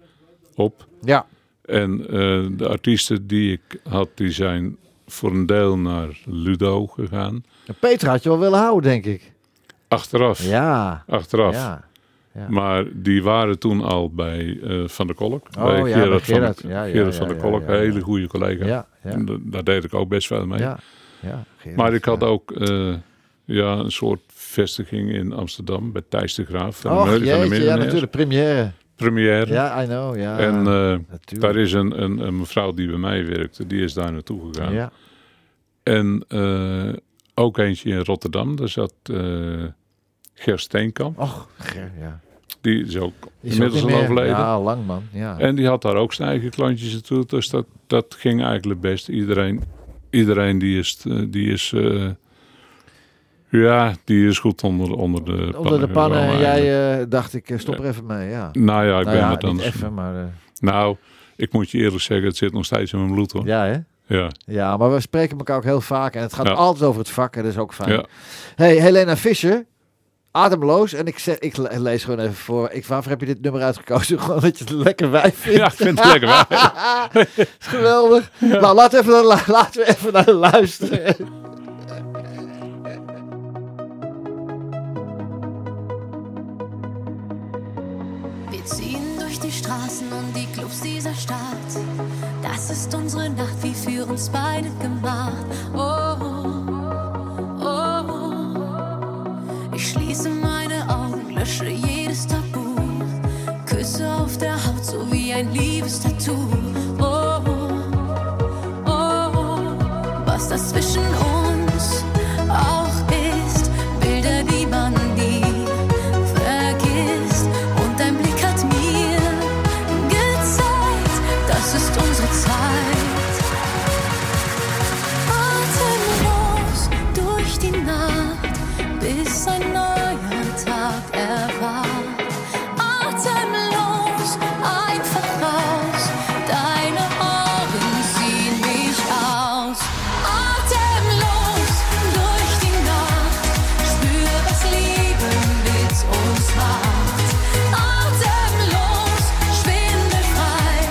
op.
Ja,
En eh, de artiesten die ik had, die zijn voor een deel naar Ludo gegaan.
Nou, Peter had je wel willen houden, denk ik.
Achteraf.
Ja,
Achteraf.
ja.
Maar die waren toen al bij eh, Van der Kolk.
Oh,
bij
ja, bij
Gerard, van,
Gerard.
de-
Ja, ja,
Gerard
ja,
van der
ja,
Kolk,
ja, ja.
hele goede collega.
Ja,
En
ja,
da- Daar deed ik ook best veel mee.
ja. ja Gerard,
Maar ik had
ja.
ook eh, ja, een soort vestiging in Amsterdam bij Thijs de Graaf. Van de
Och,
Meulen- van de
jeetje, ja,
Millionaires.
natuurlijk, première.
Première.
Ja, I know, ja.
en eh,
natuurlijk.
daar is een, een, een mevrouw die bij mij werkte, die is daar naartoe gegaan.
Ja,
En eh, ook eentje in Rotterdam, daar zat eh Ger Steenkamp.
och, Ger, ja.
Die is ook
Is
inmiddels
ook
al
niet meer.
overleden.
Ja, lang man, ja.
En die had daar ook zijn eigen klantjes naartoe. Dus dat, dat ging eigenlijk best. Iedereen, iedereen die is, eh, die is eh, ja, die is goed onder, onder de pannen.
Onder de pannen en
gekomen
jij
eigenlijk.
eh, dacht ik, eh, stop er even mee, ja.
Nou ja, ik
nou
ben
ja,
het
niet
anders.
even, maar... eh,
Nou, ik moet je eerlijk zeggen, het zit nog steeds in mijn bloed hoor. Ja,
ja, hè?
ja.
Ja, maar we spreken elkaar ook heel vaak en het gaat
Ja.
altijd over het vak en dat is ook fijn.
Ja.
Hey, Helena Fischer, ademloos. En ik, zeg, ik le- lees gewoon even voor. Ik, waarvoor heb je dit nummer uitgekozen? Gewoon dat je het een lekker wijf vindt.
ik vind het lekker. hè?
Is geweldig. Nou, laten we, even, la- laten we even naar de luisteren.
Wir ziehen durch die Straßen und die Clubs dieser Stadt. Das ist unsere Nacht, wie für uns beide gemacht. Oh, oh. Ich schließe meine Augen, lösche jedes Tabu. Küsse auf der Haut, so wie ein Liebestattoo. Oh, oh. Was das zwischen uns auch ist, Bilder, die man nie vergisst. Und dein Blick hat mir gezeigt, das ist unsere Zeit. Atemlos durch die Nacht, bis ein neuer Tag erwacht. Atemlos, einfach raus, deine Augen ziehen mich aus. Atemlos durch die Nacht, spür, was Liebe mit uns macht. Atemlos, schwindelfrei,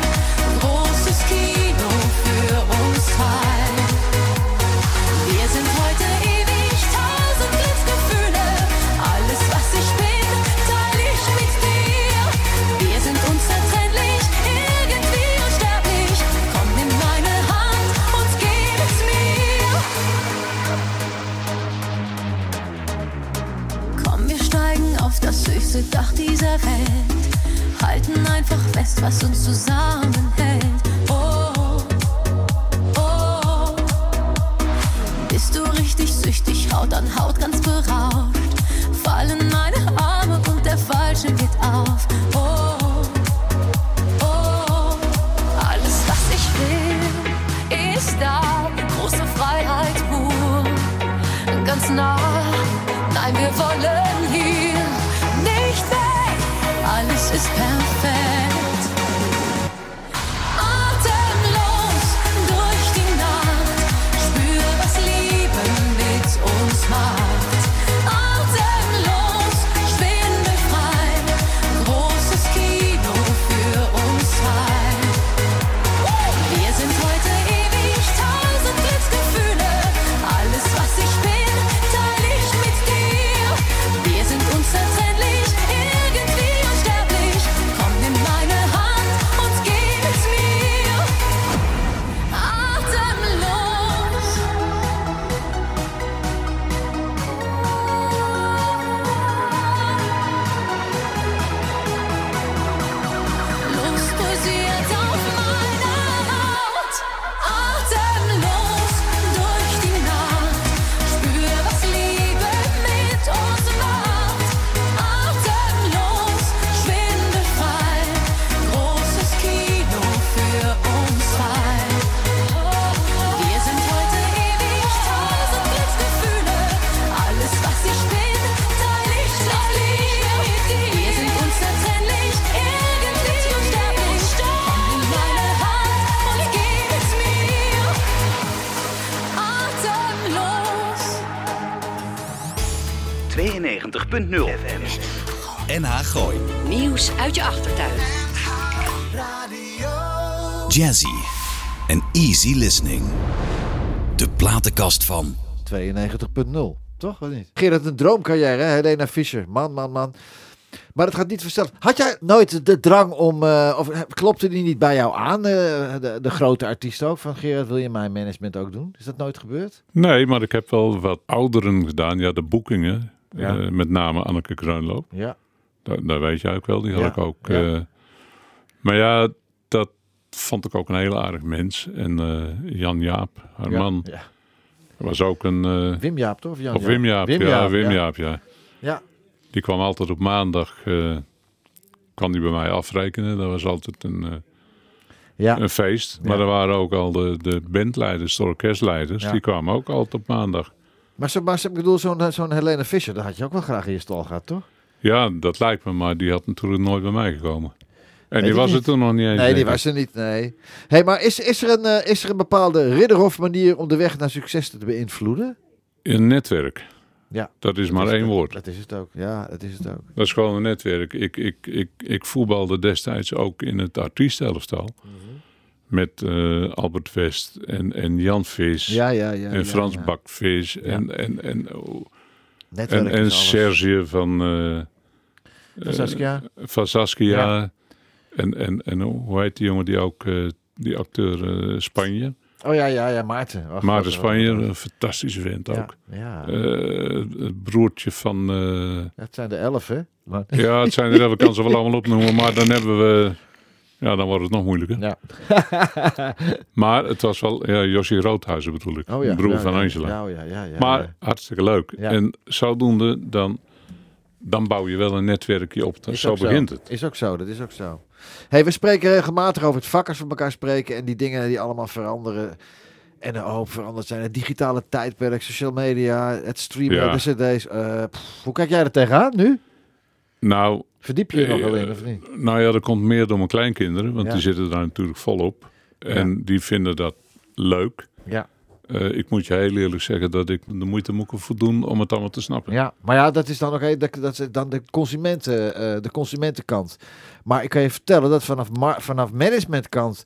großes Kino für uns zwei. Wir sind heute ewig, tausend Glücksgefühle. Alles, was ich bin, teile ich mit dir. Wir sind unzertrennlich, irgendwie unsterblich. Komm in meine Hand und gib es mir. Komm, wir steigen auf das höchste Dach dieser Welt. Halten einfach fest, was uns zusammenhält. Oh, oh, oh. Bist du richtig süchtig, Haut an Haut ganz berauscht? Fallen meine Arme und der Fallschirm geht auf. Oh, oh, alles was ich will, ist da. Große Freiheit pur, ganz nah. Nein, wir wollen hier nicht weg. Alles ist perfekt. Atemlos durch die Nacht, spür, was Liebe mit uns macht. Atemlos, schwindelfrei,
FM.
NH Gooi.
Nieuws uit je achtertuin.
Jazzy en easy listening. De platenkast van
92.0. Toch of niet? Gerard, een droomcarrière, hè? Helena Fischer. Man, man, man. Maar het gaat niet vanzelf. Had jij nooit de drang om. eh, of eh, klopte die niet bij jou aan? eh, de, de grote artiest ook. Van Gerard, wil je mijn management ook doen? Is dat nooit gebeurd?
Nee, maar ik heb wel wat ouderen gedaan. Ja, de boekingen.
Ja.
eh, met name Anneke Kruinloop.
Ja.
Dat, dat weet jij ook wel, die had
Ja,
ik ook.
ja.
eh. maar ja, dat vond ik ook een heel aardig mens. En eh, Jan Jaap, haar
Ja,
man,
ja.
was ook een... eh,
Wim Jaap, toch? Of Jan
of Wim Jaap, ja, Wim Jaap, ja.
Ja.
Die kwam altijd op maandag, eh, kwam die bij mij afrekenen. Dat was altijd een, eh,
Ja.
een feest. Maar
Ja.
er waren ook al de, de bandleiders, de orkestleiders,
Ja.
die kwamen ook altijd op maandag.
Maar, zo, maar zo- ik bedoel, zo'n zo'n Helena Fischer, dat had je ook wel graag in je stal gehad, toch?
Ja, dat lijkt me, maar die had natuurlijk nooit bij mij gekomen. En die
ik
was er
niet.
toen nog niet eens.
Nee, die
denk ik.
was er niet, nee. hey, maar is, is, er een, eh, is er een bepaalde Ridderhof-manier om de weg naar succes te beïnvloeden?
Een netwerk.
Ja.
Dat is maar
Dat
één
het ook.
woord.
Dat is het ook, ja, dat is het ook.
Dat is gewoon een netwerk. Ik, ik, ik, ik voetbalde destijds ook in het artiestenelftal.
Mhm.
Met eh, Albert West en, en Jan Vis.
Ja, ja, ja.
en
ja,
Frans
ja.
Bakvis. En, en, en, oh,
Netwerk
en,
is
en
alles.
Serge van, eh,
Van Saskia.
van Saskia. En, en, en hoe heet die jongen die ook... eh, die acteur eh, Spanje.
Oh ja, ja, ja, Maarten. Ach,
Maarten
wat-
Spanje, een fantastische vent
Ja,
ook.
Ja,
Eh, het broertje van... eh,
dat zijn de elf, hè? Maar-
Ja, het zijn er wel, ik kan ze wel allemaal opnoemen, maar dan hebben we. Ja, dan wordt het nog moeilijker.
Ja.
Maar het was wel ja, Josje Roodhuizen bedoel ik,
Oh ja.
broer
ja,
van
ja.
Angela.
Ja, oh ja, ja, ja.
maar
ja.
hartstikke leuk.
Ja.
En zodoende, dan, dan bouw je wel een netwerkje op.
Is
zo
ook
begint het.
Is ook zo, dat is ook zo. hey, we spreken regelmatig over het vak als we met elkaar spreken en die dingen die allemaal veranderen. En een hoop veranderd zijn. Het digitale tijdperk, social media, het streamen,
Ja.
de cd's. eh, pff, hoe kijk jij er tegenaan nu?
Nou,
Verdiep je je nog
Eh,
wel in, of niet?
nou ja, dat komt meer door mijn kleinkinderen, want
Ja.
die zitten daar natuurlijk volop. En die vinden dat leuk.
Ja.
Eh, ik moet je heel eerlijk zeggen dat ik de moeite moet ervoor doen om het allemaal te snappen.
Ja, maar ja, dat is dan ook een- dat, dat is dan de, consumenten, eh, de consumentenkant. Maar ik kan je vertellen dat vanaf, ma- vanaf managementkant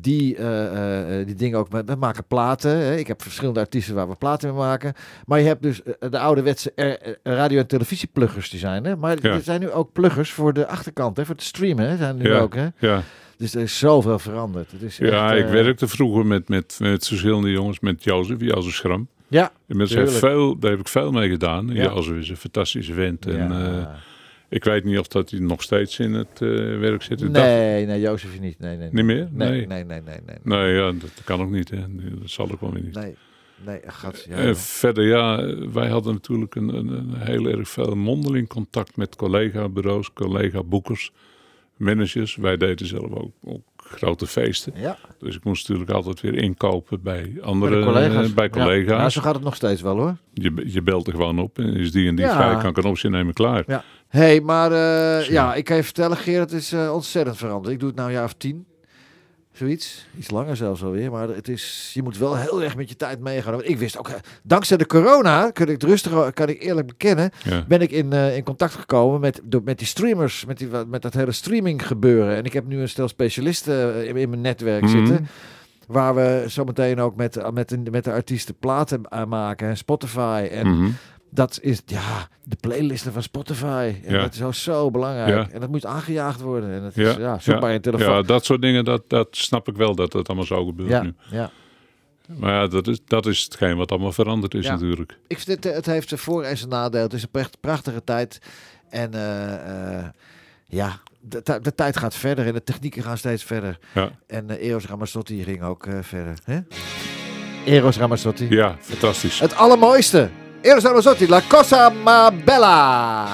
die, eh, eh, die dingen ook... met- We maken platen. Hè. Ik heb verschillende artiesten waar we platen mee maken. Maar je hebt dus eh, de ouderwetse eh, eh, radio- en televisiepluggers die zijn. Hè. Maar
Ja.
er zijn nu ook pluggers voor de achterkant, hè, voor het streamen. Hè, zijn er nu
Ja.
ook, hè.
ja.
Dus er is zoveel veranderd. Het is
Ja,
echt,
ik
eh,
werkte vroeger met, met, met verschillende jongens, met Jozef, Jozef Schram.
Ja,
Inmiddels heb ik
Tuurlijk.
veel, daar heb ik veel mee gedaan.
Ja.
Jozef is een fantastische vent. En,
Ja.
eh, ik weet niet of dat hij nog steeds in het eh, werk zit. Ik dacht-
nee, nee, Jozef niet. Nee, nee,
Niet meer?
Nee, nee,
Nee.
nee, nee. nee, nee.
nee, ja, dat kan ook niet. Hè. Dat zal ook wel weer niet.
Nee, nee, gat. Ja,
Eh,
joh.
verder, ja, wij hadden natuurlijk een, een, een heel erg veel mondeling contact met collega-bureaus, collega-boekers, managers. Wij deden zelf ook, ook grote feesten.
ja,
Dus ik moest natuurlijk altijd weer inkopen bij
bij
andere
de
eh,
collega's.
Bij
Ja. Ja,
collega's.
zo gaat het nog steeds wel hoor.
Je, je belt er gewoon op en is die en die
Ja.
vrij, kan ik een optie nemen, klaar.
Ja. hey, maar eh, ja, ik kan je vertellen, Gerard, het is eh, ontzettend veranderd. Ik doe het nou een jaar of tien. Zoiets. Iets langer zelfs alweer. Maar het is, je moet wel heel erg met je tijd meegaan. Want ik wist ook, eh, dankzij de corona, kun ik het rustig, eh, kan ik eerlijk bekennen,
Ja.
ben ik in, eh, in contact gekomen met, door- met die streamers, met, die, met dat hele streaming gebeuren. En ik heb nu een stel specialisten eh, in, in mijn netwerk
Mhm.
zitten. Waar we zometeen ook met, eh, met, de- met de artiesten platen eh, maken en Spotify. En
Mhm.
dat is ja, de playlisten van Spotify. En
Ja.
dat is ook zo belangrijk.
Ja.
En dat moet aangejaagd worden. En dat is,
Ja.
dus, ja, zoek maar in telefoon.
Ja,
Ja,
dat soort dingen, dat, dat snap ik wel dat dat allemaal zo gebeurt
ja,
nu. Maar ja, dat is, dat is hetgeen wat allemaal veranderd is
Ja.
natuurlijk.
Ik vind het, eh, het heeft zijn voor- en zijn nadeel. Het is een pracht- prachtige tijd. En eh, eh, ja, de, ti- de tijd gaat verder en de technieken gaan steeds verder.
Ja.
En eh, Eros Ramazzotti ging ook eh, verder. Hè? Eros Ramazzotti.
Ja, fantastisch.
Het allermooiste. Eros Ramazzotti, La Cosa Ma Bella.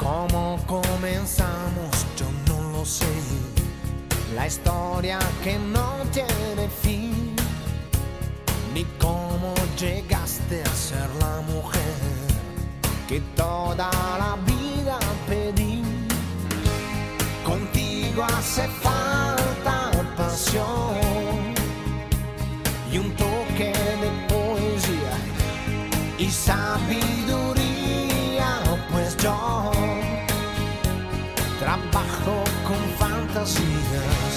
¿Cómo comenzamos? Yo no lo sé. La historia que no tiene fin. Ni cómo llegaste a ser la mujer que toda la vida pedí. Contigo contigo hace falta pasión y e un toque de poesía y sabiduría, pues yo trabajo con fantasías.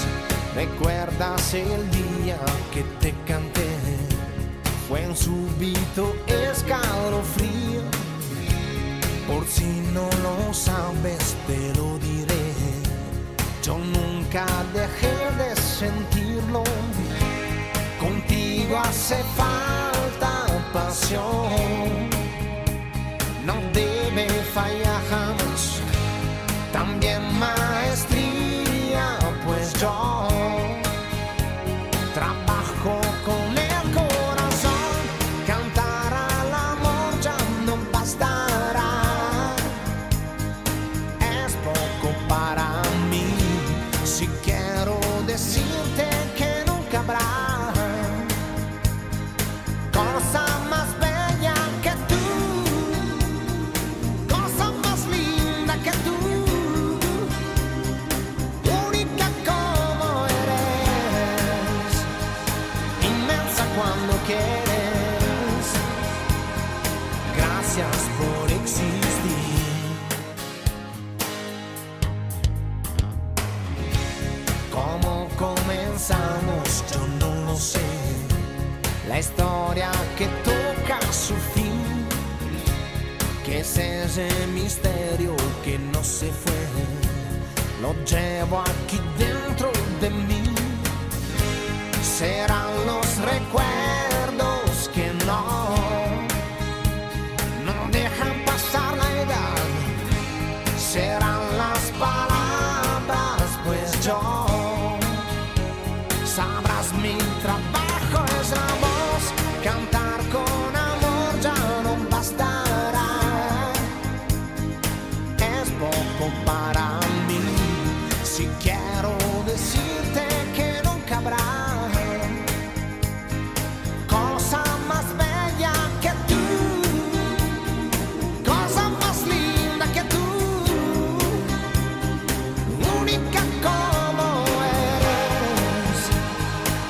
¿Recuerdas el día que te canté? Fue un súbito escalofrío. Por si no lo sabes, te lo diré. Yo nunca dejé de sentirlo. Contigo hace falta pasión. No debe fallar jamás. También maestría, pues yo trabajo con el corazón. Cantar al amor ya no bastará. Es poco para mí. Si quiero decirte que nunca habrá cosa más bella que tú, cosa más linda que tú, única como eres, inmensa cuando quieres. Gracias por existir. ¿Cómo comenzamos? Yo no lo sé. La historia que toca su fin. ¿Qué es ese misterio que no se fue? Lo llevo aquí dentro de mí. Serán los recuerdos que no. No dejan pasar la edad serán las palabras, pues yo sabrás mi trabajo es la voz, cantar con amor ya no bastará, es poco para mí, si quiero decirte que nunca habrá cosa más bella que tú. Cosa más linda que tú, única como eres,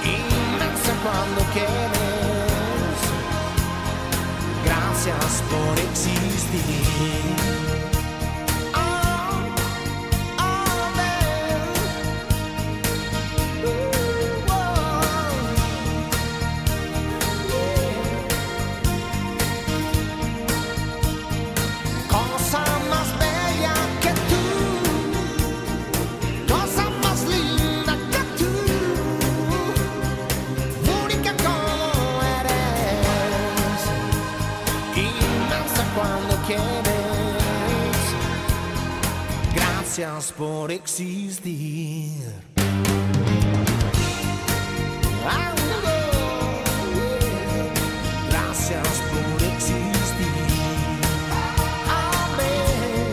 inmensa cuando quieres. Gracias por existir. Oh, oh, babe. Ooh, oh. Yeah. Cosa más bella que tú, cosa más linda que tú, única como eres, inmensa cuando quieres. Gracias por existir. Ah, yeah. Gracias por existir. Amén.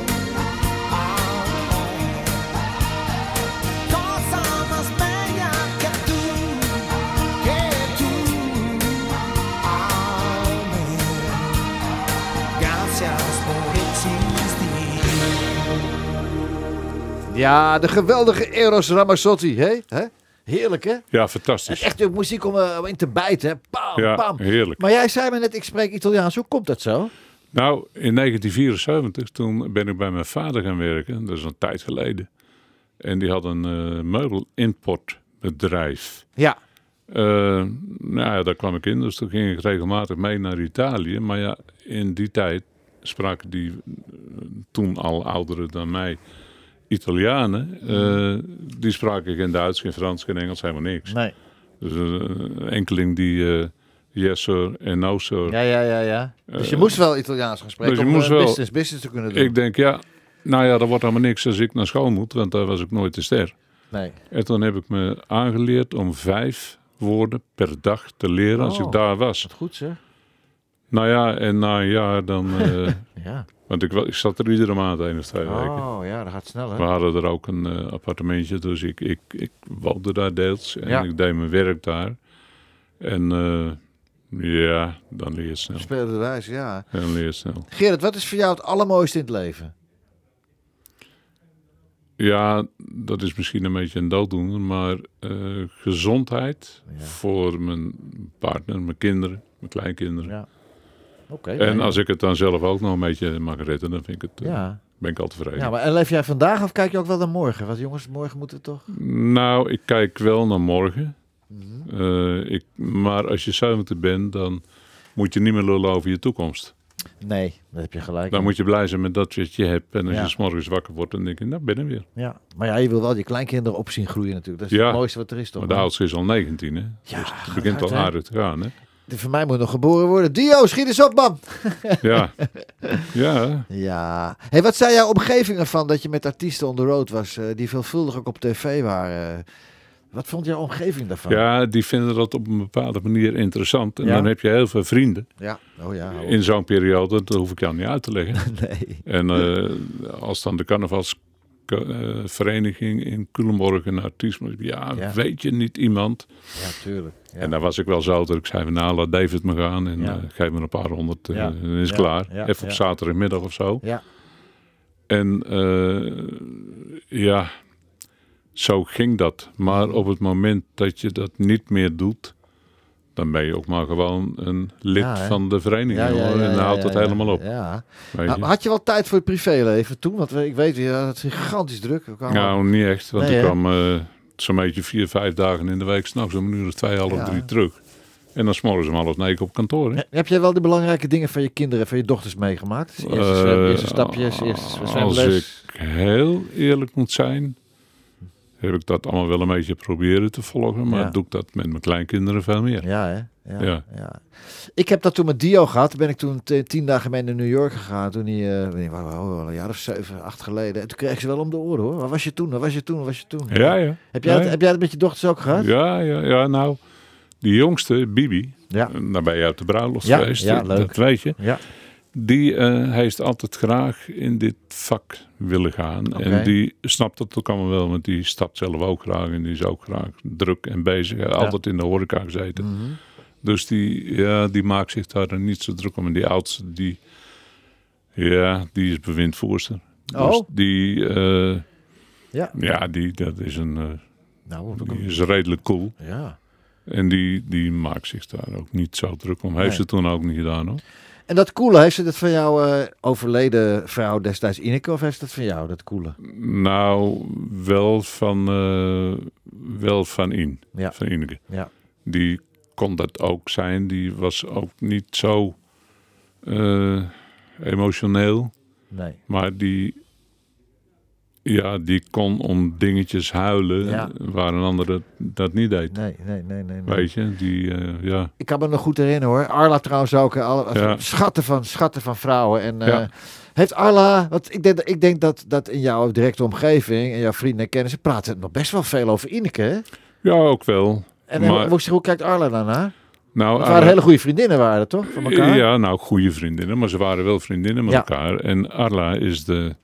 Cosa más bella que tú, que tú. Amén. Gracias por existir.
Ja, de geweldige Eros Ramazzotti, hè? hè? Heerlijk, hè?
Ja,
Het is
fantastisch.
echt een muziek om, eh, om in te bijten, hè? Bam,
Ja,
bam.
heerlijk.
Maar jij zei me net, ik spreek Italiaans. Hoe komt dat zo?
Nou, in 1974, toen ben ik bij mijn vader gaan werken. Dat is een tijd geleden. En die had een eh, meubel-importbedrijf.
Ja.
Eh, nou ja, daar kwam ik in. Dus toen ging ik regelmatig mee naar Italië. Maar ja, in die tijd spraken die eh, toen al ouderen dan mij Italianen.
Mm.
eh, die spraken geen Duits, geen Frans, geen Engels, helemaal niks.
Nee.
Dus eh, een enkeling die eh, yes sir en no sir.
Ja, ja, ja, ja. Dus je
Eh,
moest wel Italiaans gaan spreken
dus je
om
moest
eh,
wel-
business, business te kunnen doen.
Ik denk, ja, nou ja, dat wordt allemaal niks als ik naar school moet, want daar was ik nooit de ster.
Nee.
En toen heb ik me aangeleerd om vijf woorden per dag te leren als
Oh,
ik daar was.
Goed, zeg.
Nou ja, en na een jaar dan... eh,
Ja.
Want ik, wa- ik zat er iedere maand één of twee weken.
Oh, ja, dat gaat snel,
We
hè?
hadden er ook een eh, appartementje, dus ik, ik, ik woonde daar deels en
Ja.
ik deed mijn werk daar. En eh, ja, dan leer je snel.
Spelen de wijs, ja.
Dan leer je snel.
Gerrit, wat is voor jou het allermooiste in het leven?
Ja, dat is misschien een beetje een dooddoener, maar eh, gezondheid voor mijn partner, mijn kinderen, mijn kleinkinderen.
Ja. Oké.
En als ik het dan zelf ook nog een beetje mag redden, dan vind ik het, eh,
Ja.
ben ik al tevreden.
Ja, Nou, maar en leef jij vandaag of kijk je ook wel naar morgen? Want jongens, morgen moeten we toch...
Nou, ik kijk wel naar morgen.
Mhm.
Eh, ik, maar als je 70 bent, dan moet je niet meer lullen over je toekomst.
Nee, daar heb je gelijk.
Dan
in.
moet je blij zijn met dat wat je hebt. En als
Ja.
je s'morgens wakker wordt, dan denk je, nou ben ik er weer.
Ja, maar ja, je wil wel je kleinkinderen op zien groeien natuurlijk. Dat is het mooiste wat er is toch?
Maar de oudste is al 19, hè? dus het begint
hard,
al
hè?
aardig te gaan, hè?
Die Van mij moet nog geboren worden. Dio, schiet eens op, man!
Ja. ja.
Ja. Hey, wat zijn jouw omgevingen van dat je met artiesten on the road was, eh, die veelvuldig ook op tv waren? Wat vond jouw omgeving daarvan?
Ja, die vinden dat op een bepaalde manier interessant. En
Ja.
dan heb je heel veel vrienden.
Ja. Oh ja. hoor.
In zo'n periode, dat hoef ik jou niet uit te leggen.
Nee.
En eh, als dan de carnavalsvereniging in Culemborg een artiest moest... Ja,
Ja.
weet je niet iemand?
Ja, tuurlijk. Ja.
En daar was ik wel zo dat ik zei van nou, laat David me gaan. En
Ja.
eh, geef me een paar honderd, eh,
Ja.
dan is het
Ja.
klaar.
Ja.
Even op
Ja.
zaterdagmiddag of zo.
Ja.
En eh, ja, zo ging dat. Maar op het moment dat je dat niet meer doet, dan ben je ook maar gewoon een lid
Ja, hè?
van de vereniging.
Ja, ja,
hoor.
ja,
en dan
ja,
houdt
ja,
dat
ja.
helemaal op.
Ja.
Weet
Maar
je?
Had je wel tijd voor het privéleven toen? Want we- ik weet, ja, dat is gigantisch druk. We kwamen-
Nou, niet echt. Want
Nee,
ik
hè?
kwam eh, zo'n beetje vier, vijf dagen in de week s'nachts om een uur of twee, half
Ja.
drie terug. En dan s'morgens om half negen op kantoor. hè.
Heb jij wel de belangrijke dingen van je kinderen, van je dochters meegemaakt? Dus Eerste, zwem-
Eh,
eerste stapjes, eerste
Als
zwemles.
ik heel eerlijk moet zijn, heb ik dat allemaal wel een beetje proberen te volgen. Maar
Ja.
doe ik dat met mijn kleinkinderen veel meer.
Ja, hè? Ja, ja.
Ja.
Ik heb dat toen met Dio gehad. Toen ben ik toen t- tien dagen mee naar New York gegaan. Toen hij, eh, weet niet, waar- waar- waar- een jaar of zeven, acht geleden. En toen kreeg ik ze wel om de oren hoor. Waar was je toen? Waar was je toen? Waar was je toen?
Ja, ja.
Heb jij,
Ja,
dat,
ja.
heb jij dat met je dochters ook gehad?
Ja, ja, ja, nou, die jongste, Bibi,
Ja.
daar ben je uit de bruiloft
Ja,
geweest,
ja,
dat-
leuk.
dat weet je.
Ja.
Die eh, heeft altijd graag in dit vak willen gaan.
Oké.
En die snapt dat ook allemaal wel, want die stapt zelf ook graag en die is ook graag druk en bezig. Altijd in de horeca gezeten.
Mhm.
Dus die, ja, die maakt zich daar dan niet zo druk om. En die oudste, die, ja, die is bewindvoerster. Dus
Oh.
die, eh,
Ja.
ja, die, dat is een, eh,
Nou, wat
die is redelijk cool.
ja.
En die, die maakt zich daar ook niet zo druk om. Heeft
Nee.
ze toen ook niet gedaan hoor.
En dat koelen, heeft ze dat van jouw eh, overleden vrouw destijds Ineke? Of heeft ze dat van jou, dat koelen?
Nou, wel van, eh, wel van In.
Ja.
Van Ineke.
Ja.
Die kon dat ook zijn. Die was ook niet zo eh, emotioneel.
Nee.
Maar die, ja, die kon om dingetjes huilen
Ja.
waar een ander dat, dat niet deed.
Nee, nee, nee, nee. nee.
Weet je, die, eh, ja.
Ik kan me nog goed herinneren hoor. Arla trouwens ook. hè. Alle,
Ja.
Schatten, van, schatten van vrouwen. En eh,
Ja.
heeft Arla, want ik denk, ik denk dat, dat in jouw directe omgeving en jouw vrienden en kennissen praten nog best wel veel over Ineke. hè?
ja, ook wel.
En
Maar-
hoe- hoe, hoe kijkt Arla daarnaar?
Nou,
Het
Arla-
waren hele goede vriendinnen, waren het, toch? Van elkaar?
Ja, nou, goede vriendinnen, maar ze waren wel vriendinnen met
Ja.
elkaar. En Arla is de,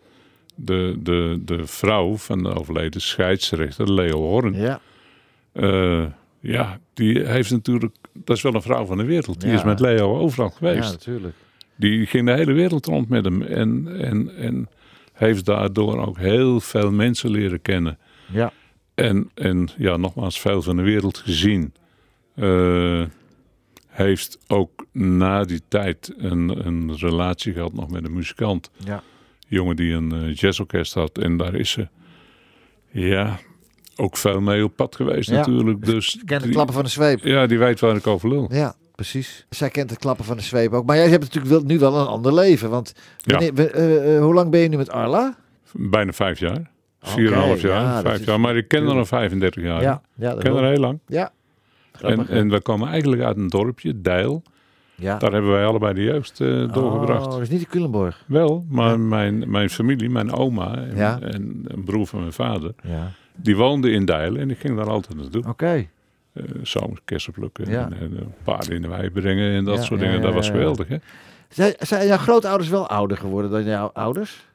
de, de, de vrouw van de overleden scheidsrechter Leo Horn.
Ja.
Eh, ja, die heeft natuurlijk, dat is wel een vrouw van de wereld. Die
Ja.
is met Leo overal
ja,
geweest.
natuurlijk.
Die ging de hele wereld rond met hem en, en, en heeft daardoor ook heel veel mensen leren kennen.
Ja.
En, en ja, nogmaals, veel van de wereld gezien. Eh, heeft ook na die tijd een, een relatie gehad nog met een muzikant.
Ja.
Een jongen die een eh, jazzorkest had. En daar is ze, ja, ook veel mee op pad geweest
Ja.
natuurlijk. Dus
Ze kent de
die-
klappen van de zweep.
Ja, die weet waar ik over lul.
Ja, precies. Zij kent het klappen van de zweep ook. Maar jij hebt natuurlijk wel, nu wel een ander leven. Want
Ja.
wanneer- we- eh, eh, hoe lang ben je nu met Arla?
Bijna vijf jaar.
Oké,
Vier en een half jaar,
ja, dat
vijf
is-
jaar. Maar ik ken haar al 35 jaar.
Ja, ja,
ik
dat
ken
wel.
haar heel lang.
Ja.
En, en we komen eigenlijk uit een dorpje, Deil.
Ja.
Daar hebben wij allebei de jeugd eh, doorgebracht.
Oh, dat is niet in Culemborg.
Wel, maar mijn, mijn familie, mijn oma en,
Ja.
en een broer van mijn vader,
Ja.
die woonde in Deil en ik ging daar altijd naartoe.
Oké.
Eh Zomers kersen plukken
Ja.
en, en, eh, paarden in de wei brengen en dat
Ja,
soort
ja,
dingen.
ja,
dat was
ja, ja.
geweldig, hè?
Zijn, zijn jouw grootouders wel ouder geworden dan jouw ouders?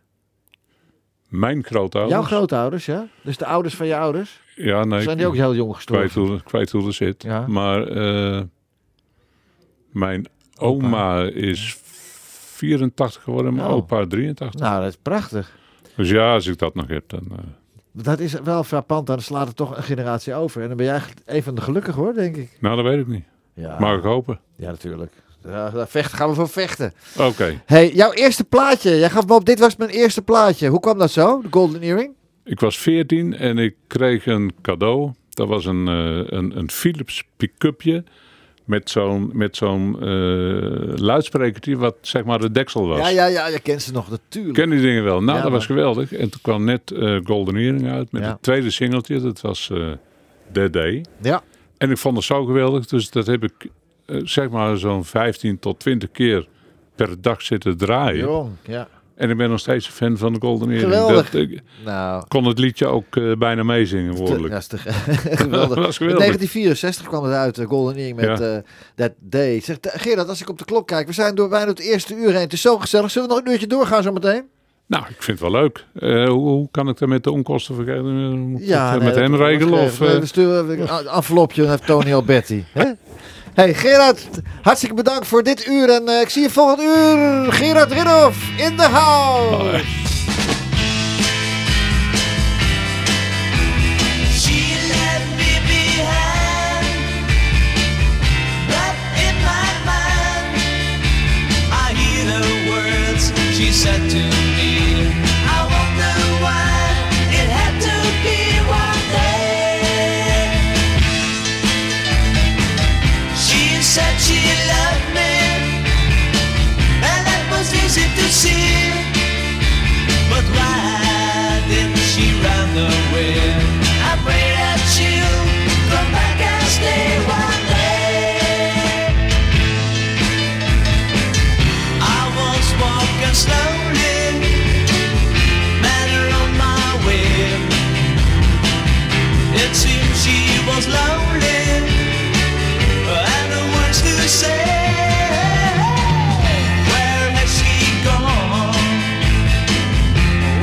Mijn grootouders.
Jouw grootouders, ja? Dus de ouders van je ouders?
Ja, nee.
zijn
ik-
die ook heel jong
Ik weet
gestorven?
hoe, ik weet hoe dat zit.
Ja.
Maar eh, mijn oma is 84 geworden, mijn
Oh.
opa 83.
Nou, dat is prachtig.
Dus ja, als ik dat nog heb, dan eh,
Dat is wel frappant, dan slaat het toch een generatie over. En dan ben jij een van de gelukkigen hoor, denk ik.
Nou, dat weet ik niet.
Ja.
Mag ik hopen?
Ja, natuurlijk. Ja, daar vechten, gaan we voor vechten.
Oké.
hey, jouw eerste plaatje. Jij gaf me op, dit was mijn eerste plaatje. Hoe kwam dat zo, de Golden Earring?
Ik was 14 en ik kreeg een cadeau. Dat was een, eh, een, een Philips pick-upje met zo'n met zo'n eh, luidsprekertje wat zeg maar de deksel was.
Ja, ja, ja, je kent ze nog natuurlijk.
Ken die dingen wel. Nou,
Ja,
dat was
man.
geweldig. En toen kwam net eh, Golden Earring uit met
Ja.
het tweede singeltje. Dat was eh The Day.
Ja.
En ik vond het zo geweldig. Dus dat heb ik eh, zeg maar zo'n 15 tot 20 keer per dag zitten draaien.
Jong, ja.
En ik ben nog steeds een fan van de Golden Earring.
Geweldig.
Dat, ik
Nou,
kon het liedje ook eh, bijna meezingen, woordelijk.
dat is te geweldig.
Dat was
In
geweldig.
1964 kwam het uit, de Golden Earring met
Ja.
eh, That Day. Zeg, eh, Gerard, als ik op de klok kijk, we zijn door bijna het eerste uur heen. Het is zo gezellig. Zullen we nog een uurtje doorgaan zometeen?
Nou, ik vind het wel leuk. Eh, hoe, hoe kan ik daar met de onkosten vergeten? Moet ik het, eh,
nee,
met
dat
hem
wordt
regelen? Of,
geschreven. Nee,
eh,
we sturen een envelopje naar Tony Alberti. hè? hey, Gerard, hartstikke bedankt voor dit uur. En eh, ik zie je volgend uur. Gerard Ridhoff in de house.
She left me behind, but in my mind, I hear the words she said to me. I wonder why it had to be one day. She said she loved me, and that was easy to see. But why didn't she run away? I pray that she'll come back and stay one day. I was walking slowly, manner on my way. It seemed she was lonely, and the words to say. Where has she gone?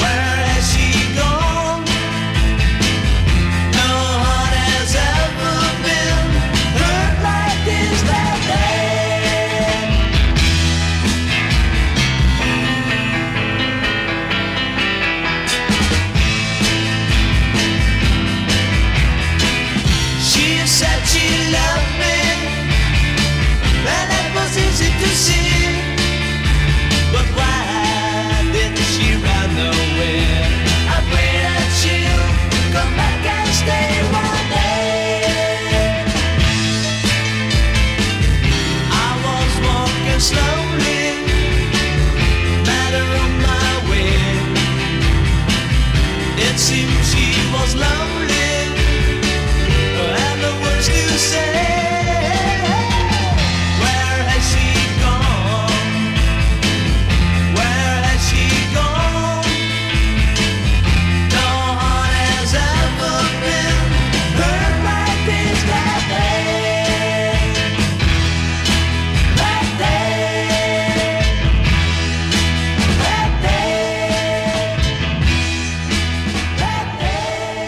Where has she gone? No heart has ever been hurt like this that day. She said she loved me, and it was easy to see. But why did she run away? I pray that she'll come back and stay one day. I was walking slowly, matter of my way. It seemed she was lonely, and the words to say. Where has she gone? Where has she gone? No one has ever been hurt like this that day. That day. That day. That day.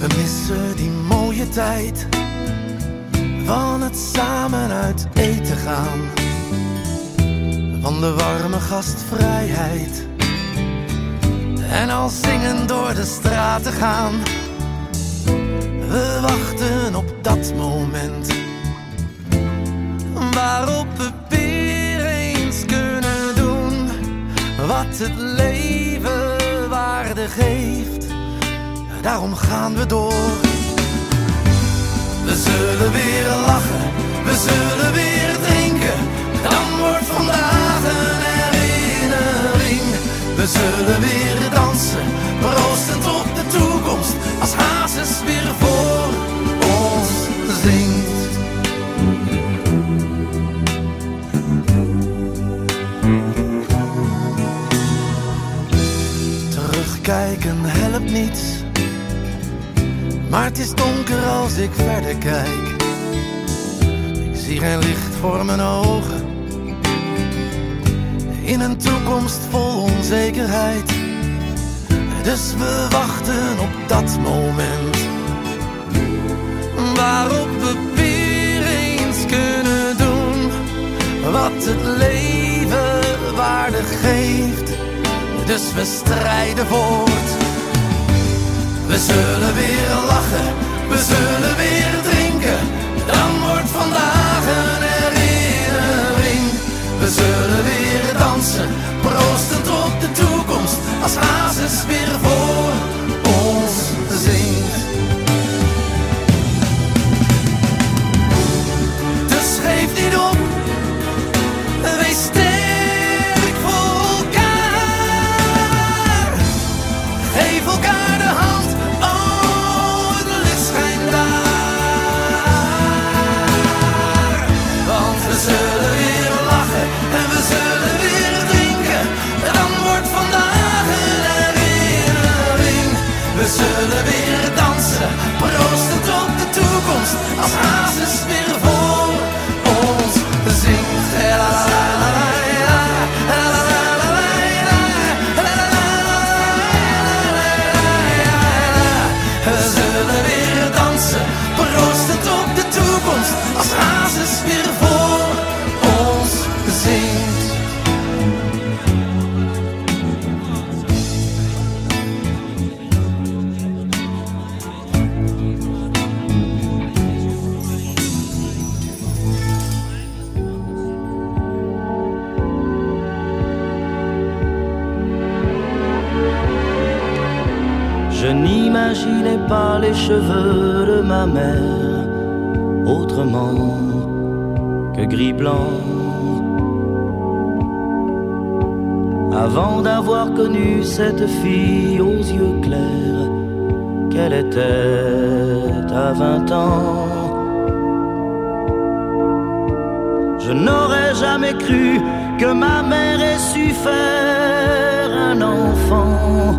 We missen die mooie tijd van het samen uit eten gaan. Van de warme gastvrijheid en al zingen door de straten gaan. We wachten op dat moment waarop we weer eens kunnen doen wat het leven waarde geeft daarom gaan we door. We zullen weer lachen, we zullen weer drinken. Dan wordt vandaag een herinnering. We zullen weer dansen, roostend op de toekomst. Als Hazes weer voor ons zingt. Terugkijken helpt niets. Maar het is donker als ik verder kijk. Ik zie geen licht voor mijn ogen. In een toekomst vol onzekerheid. Dus we wachten op dat moment. Waarop we weer
wat het leven waarde geeft. Dus we strijden voort. We zullen weer lachen, we zullen weer drinken. Dan wordt vandaag een herinnering. We zullen weer dansen, proostend op de toekomst. Als hazes weer voor ons zingt. Dus geef niet op, wees sterk voor elkaar. Geef elkaar de hand, oh, de licht schijnt daar. Want we zullen weer lachen en we zullen weer drinken. Dan wordt vandaag een herinnering. We zullen weer dansen, proostend op de toekomst. Als hazes weer voor ons zingt. La, la, la, la, la, la, la, la, la, la, la, la, la, We zullen weer dansen, proostend op de toekomst. Als hazes weer voor ons zingt.
Je n'imaginais pas les cheveux de ma mère autrement que gris-blanc. Avant d'avoir connu cette fille aux yeux clairs qu'elle était à vingt ans, je n'aurais jamais cru que ma mère ait su faire un enfant.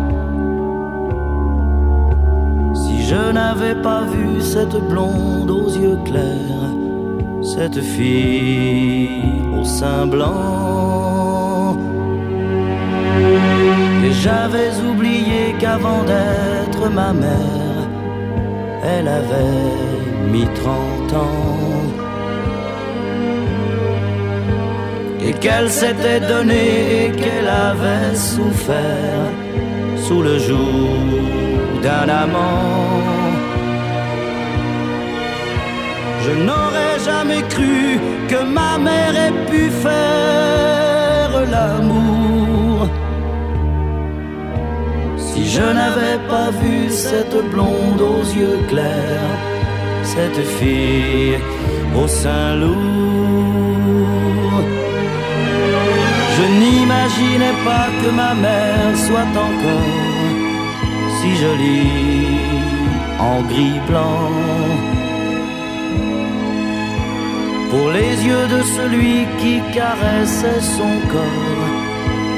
Si je n'avais pas vu cette blonde aux yeux clairs, cette fille au sein blanc. Et j'avais oublié qu'avant d'être ma mère, elle avait mis 30 ans. Et qu'elle s'était donnée et qu'elle avait souffert sous le jour d'un amant. Je n'aurais jamais cru que ma mère ait pu faire l'amour. Si je n'avais pas vu cette blonde aux yeux clairs, cette fille au sein lourd, je n'imaginais pas que ma mère soit encore si jolie en gris blanc. Pour les yeux de celui qui caressait son corps,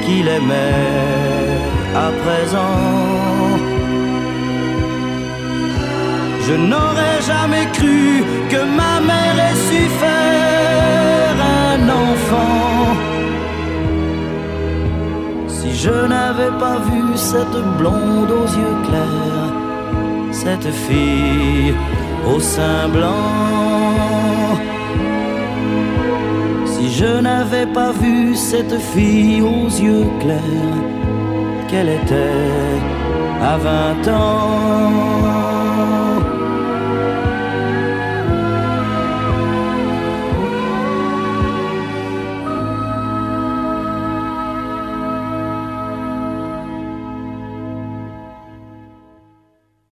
qu'il aimait à présent. Je n'aurais jamais cru que ma mère ait su faire un enfant. Si je n'avais pas vu cette blonde aux yeux clairs, cette fille au sein blanc. Si je n'avais pas vu cette fille aux yeux clairs, qu'elle était à vingt ans.